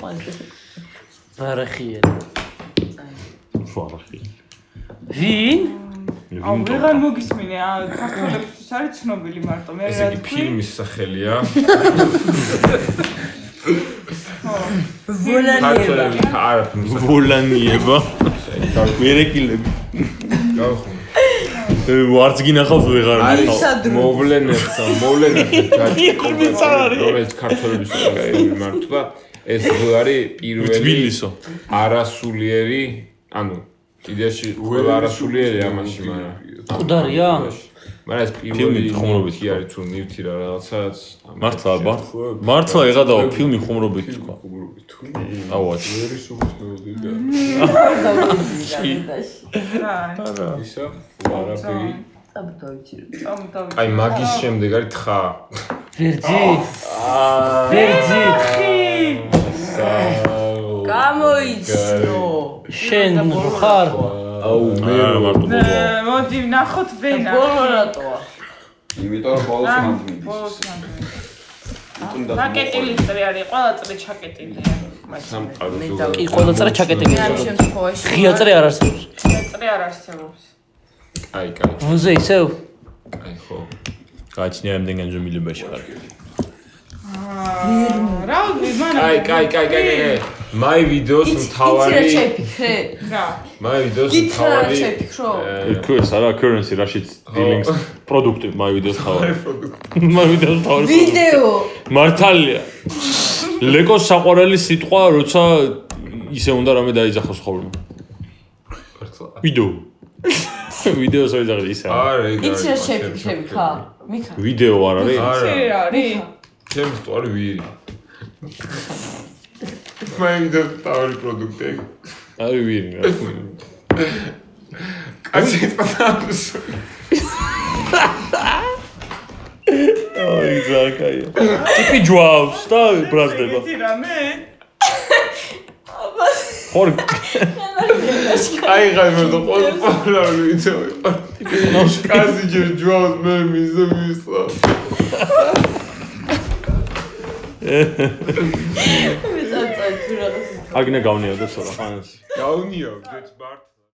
Speaker 4: ბარახიელი.
Speaker 2: შუა არახი.
Speaker 4: ვინ?
Speaker 8: აუ, ვეღარ მოგისმინე, აა, ქართველებისთვის არის ცნობილი მარტო. მე
Speaker 1: ესე
Speaker 8: რა
Speaker 1: იგი
Speaker 8: თქვი?
Speaker 1: ფილმის სახელია.
Speaker 8: ხო.
Speaker 1: ქართველები არა ფილმის სახელი.
Speaker 2: ვოლანიება. მერეკილები.
Speaker 1: გავხსნა.
Speaker 2: ვარც გინახავს ვეღარ
Speaker 1: არის
Speaker 10: ისადრო.
Speaker 1: მოვლენებსა, მოვლენებსა ჯაჭვი რომელიც ქართველების მიმართვა ეს ბ არის პირველი
Speaker 2: თბილისო.
Speaker 1: არასულიერი, ანუ კიდეში ყველა არასულიერი ამაში, მაგრამ
Speaker 4: ყუდარია?
Speaker 1: მაგრამ ეს
Speaker 2: ფილმი
Speaker 1: პირველი
Speaker 2: თხოვნობით
Speaker 1: ნივთი არის თუ ნივთი რა რაღაცაც
Speaker 2: მართლა აბა. მართლა ეღადაო ფილმი ხუმრობით თქვა.
Speaker 1: გუბურები თუ
Speaker 2: აუ, ათი.
Speaker 1: ვერი სუბსტანციური და
Speaker 8: რა არის?
Speaker 1: ისა არაბი
Speaker 8: წამოვდავით.
Speaker 1: აი მაგის შემდეგ არის თხა
Speaker 4: ვერძი? ვერძი.
Speaker 10: გამოიცნო.
Speaker 4: შენ ხარ?
Speaker 1: აუ მე
Speaker 2: არა მარტო
Speaker 8: მე,
Speaker 2: ბოლო.
Speaker 8: მოდი ვნახოთ ვენა.
Speaker 10: ბოლო რატოა?
Speaker 5: იმიტომ რომ ბოლოს
Speaker 8: რა? ბოლოს
Speaker 5: მანდმინდის.
Speaker 8: რამდენი?
Speaker 5: უნდა
Speaker 8: რაკეტილი წრე არის, ყველა წრე ჩაკეტილია. მაგრამ
Speaker 1: სამყარო ზოგადად.
Speaker 4: კი, ყველა წრე ჩაკეტილია.
Speaker 10: ამ შემთხვევაში
Speaker 4: ღია წრე არ არსებობს.
Speaker 8: წრე არ არსებობს.
Speaker 1: აი კაი
Speaker 4: ვუზე ისევ?
Speaker 1: აი ხო.
Speaker 2: გააჩნია რამდენგანჯო მილებაში ხარ.
Speaker 8: რა ვიმანა?
Speaker 1: კაი, კაი, კაი, კაი, კაი. მაი ვიდეოს
Speaker 10: იცი რა
Speaker 1: მთავარი,
Speaker 10: შეიფიქრე?
Speaker 8: რა?
Speaker 1: მაი ვიდეოს
Speaker 10: გიც რა
Speaker 1: მთავარი
Speaker 10: შეიფიქრო?
Speaker 2: QS არა currency რაშიც dealings პროდუქტი my videos თავი. my videos თავი.
Speaker 10: ვიდეო
Speaker 2: მართალია. ლეკოს საყვარელი სიტყვა, როცა ისე უნდა რამე დაიძახოს ხოლმე.
Speaker 1: ვიდეო.
Speaker 2: ვიდეო. ვიდეოს არ იძახე ისა.
Speaker 1: არა, ეგ
Speaker 10: იცი რა
Speaker 1: არის,
Speaker 10: შეიფიქრე
Speaker 1: მაგრამ
Speaker 10: მიქა? მიქა
Speaker 2: ვიდეო არ არის?
Speaker 1: არა,
Speaker 8: იცი რა არის?
Speaker 1: ჩემი სწორი ვირი. მაი ვიდეოს მთავარი პროდუქტი.
Speaker 2: არის ვინ რა.
Speaker 1: კაცი პატარს.
Speaker 2: აი ზარკაია. ტიპი ჯვავს და ბრაზდება.
Speaker 8: იცი რამე?
Speaker 2: ხორ
Speaker 1: აი ღამერდო ყოველგვარ არ ვიცი. კაცი ჯერ ჯვავს მე მიზე მისლა.
Speaker 10: მე წაწა თუ რა
Speaker 2: აგნე გავნიოდებს რა ხანას.
Speaker 1: გაუნიო, გეთ ბარტ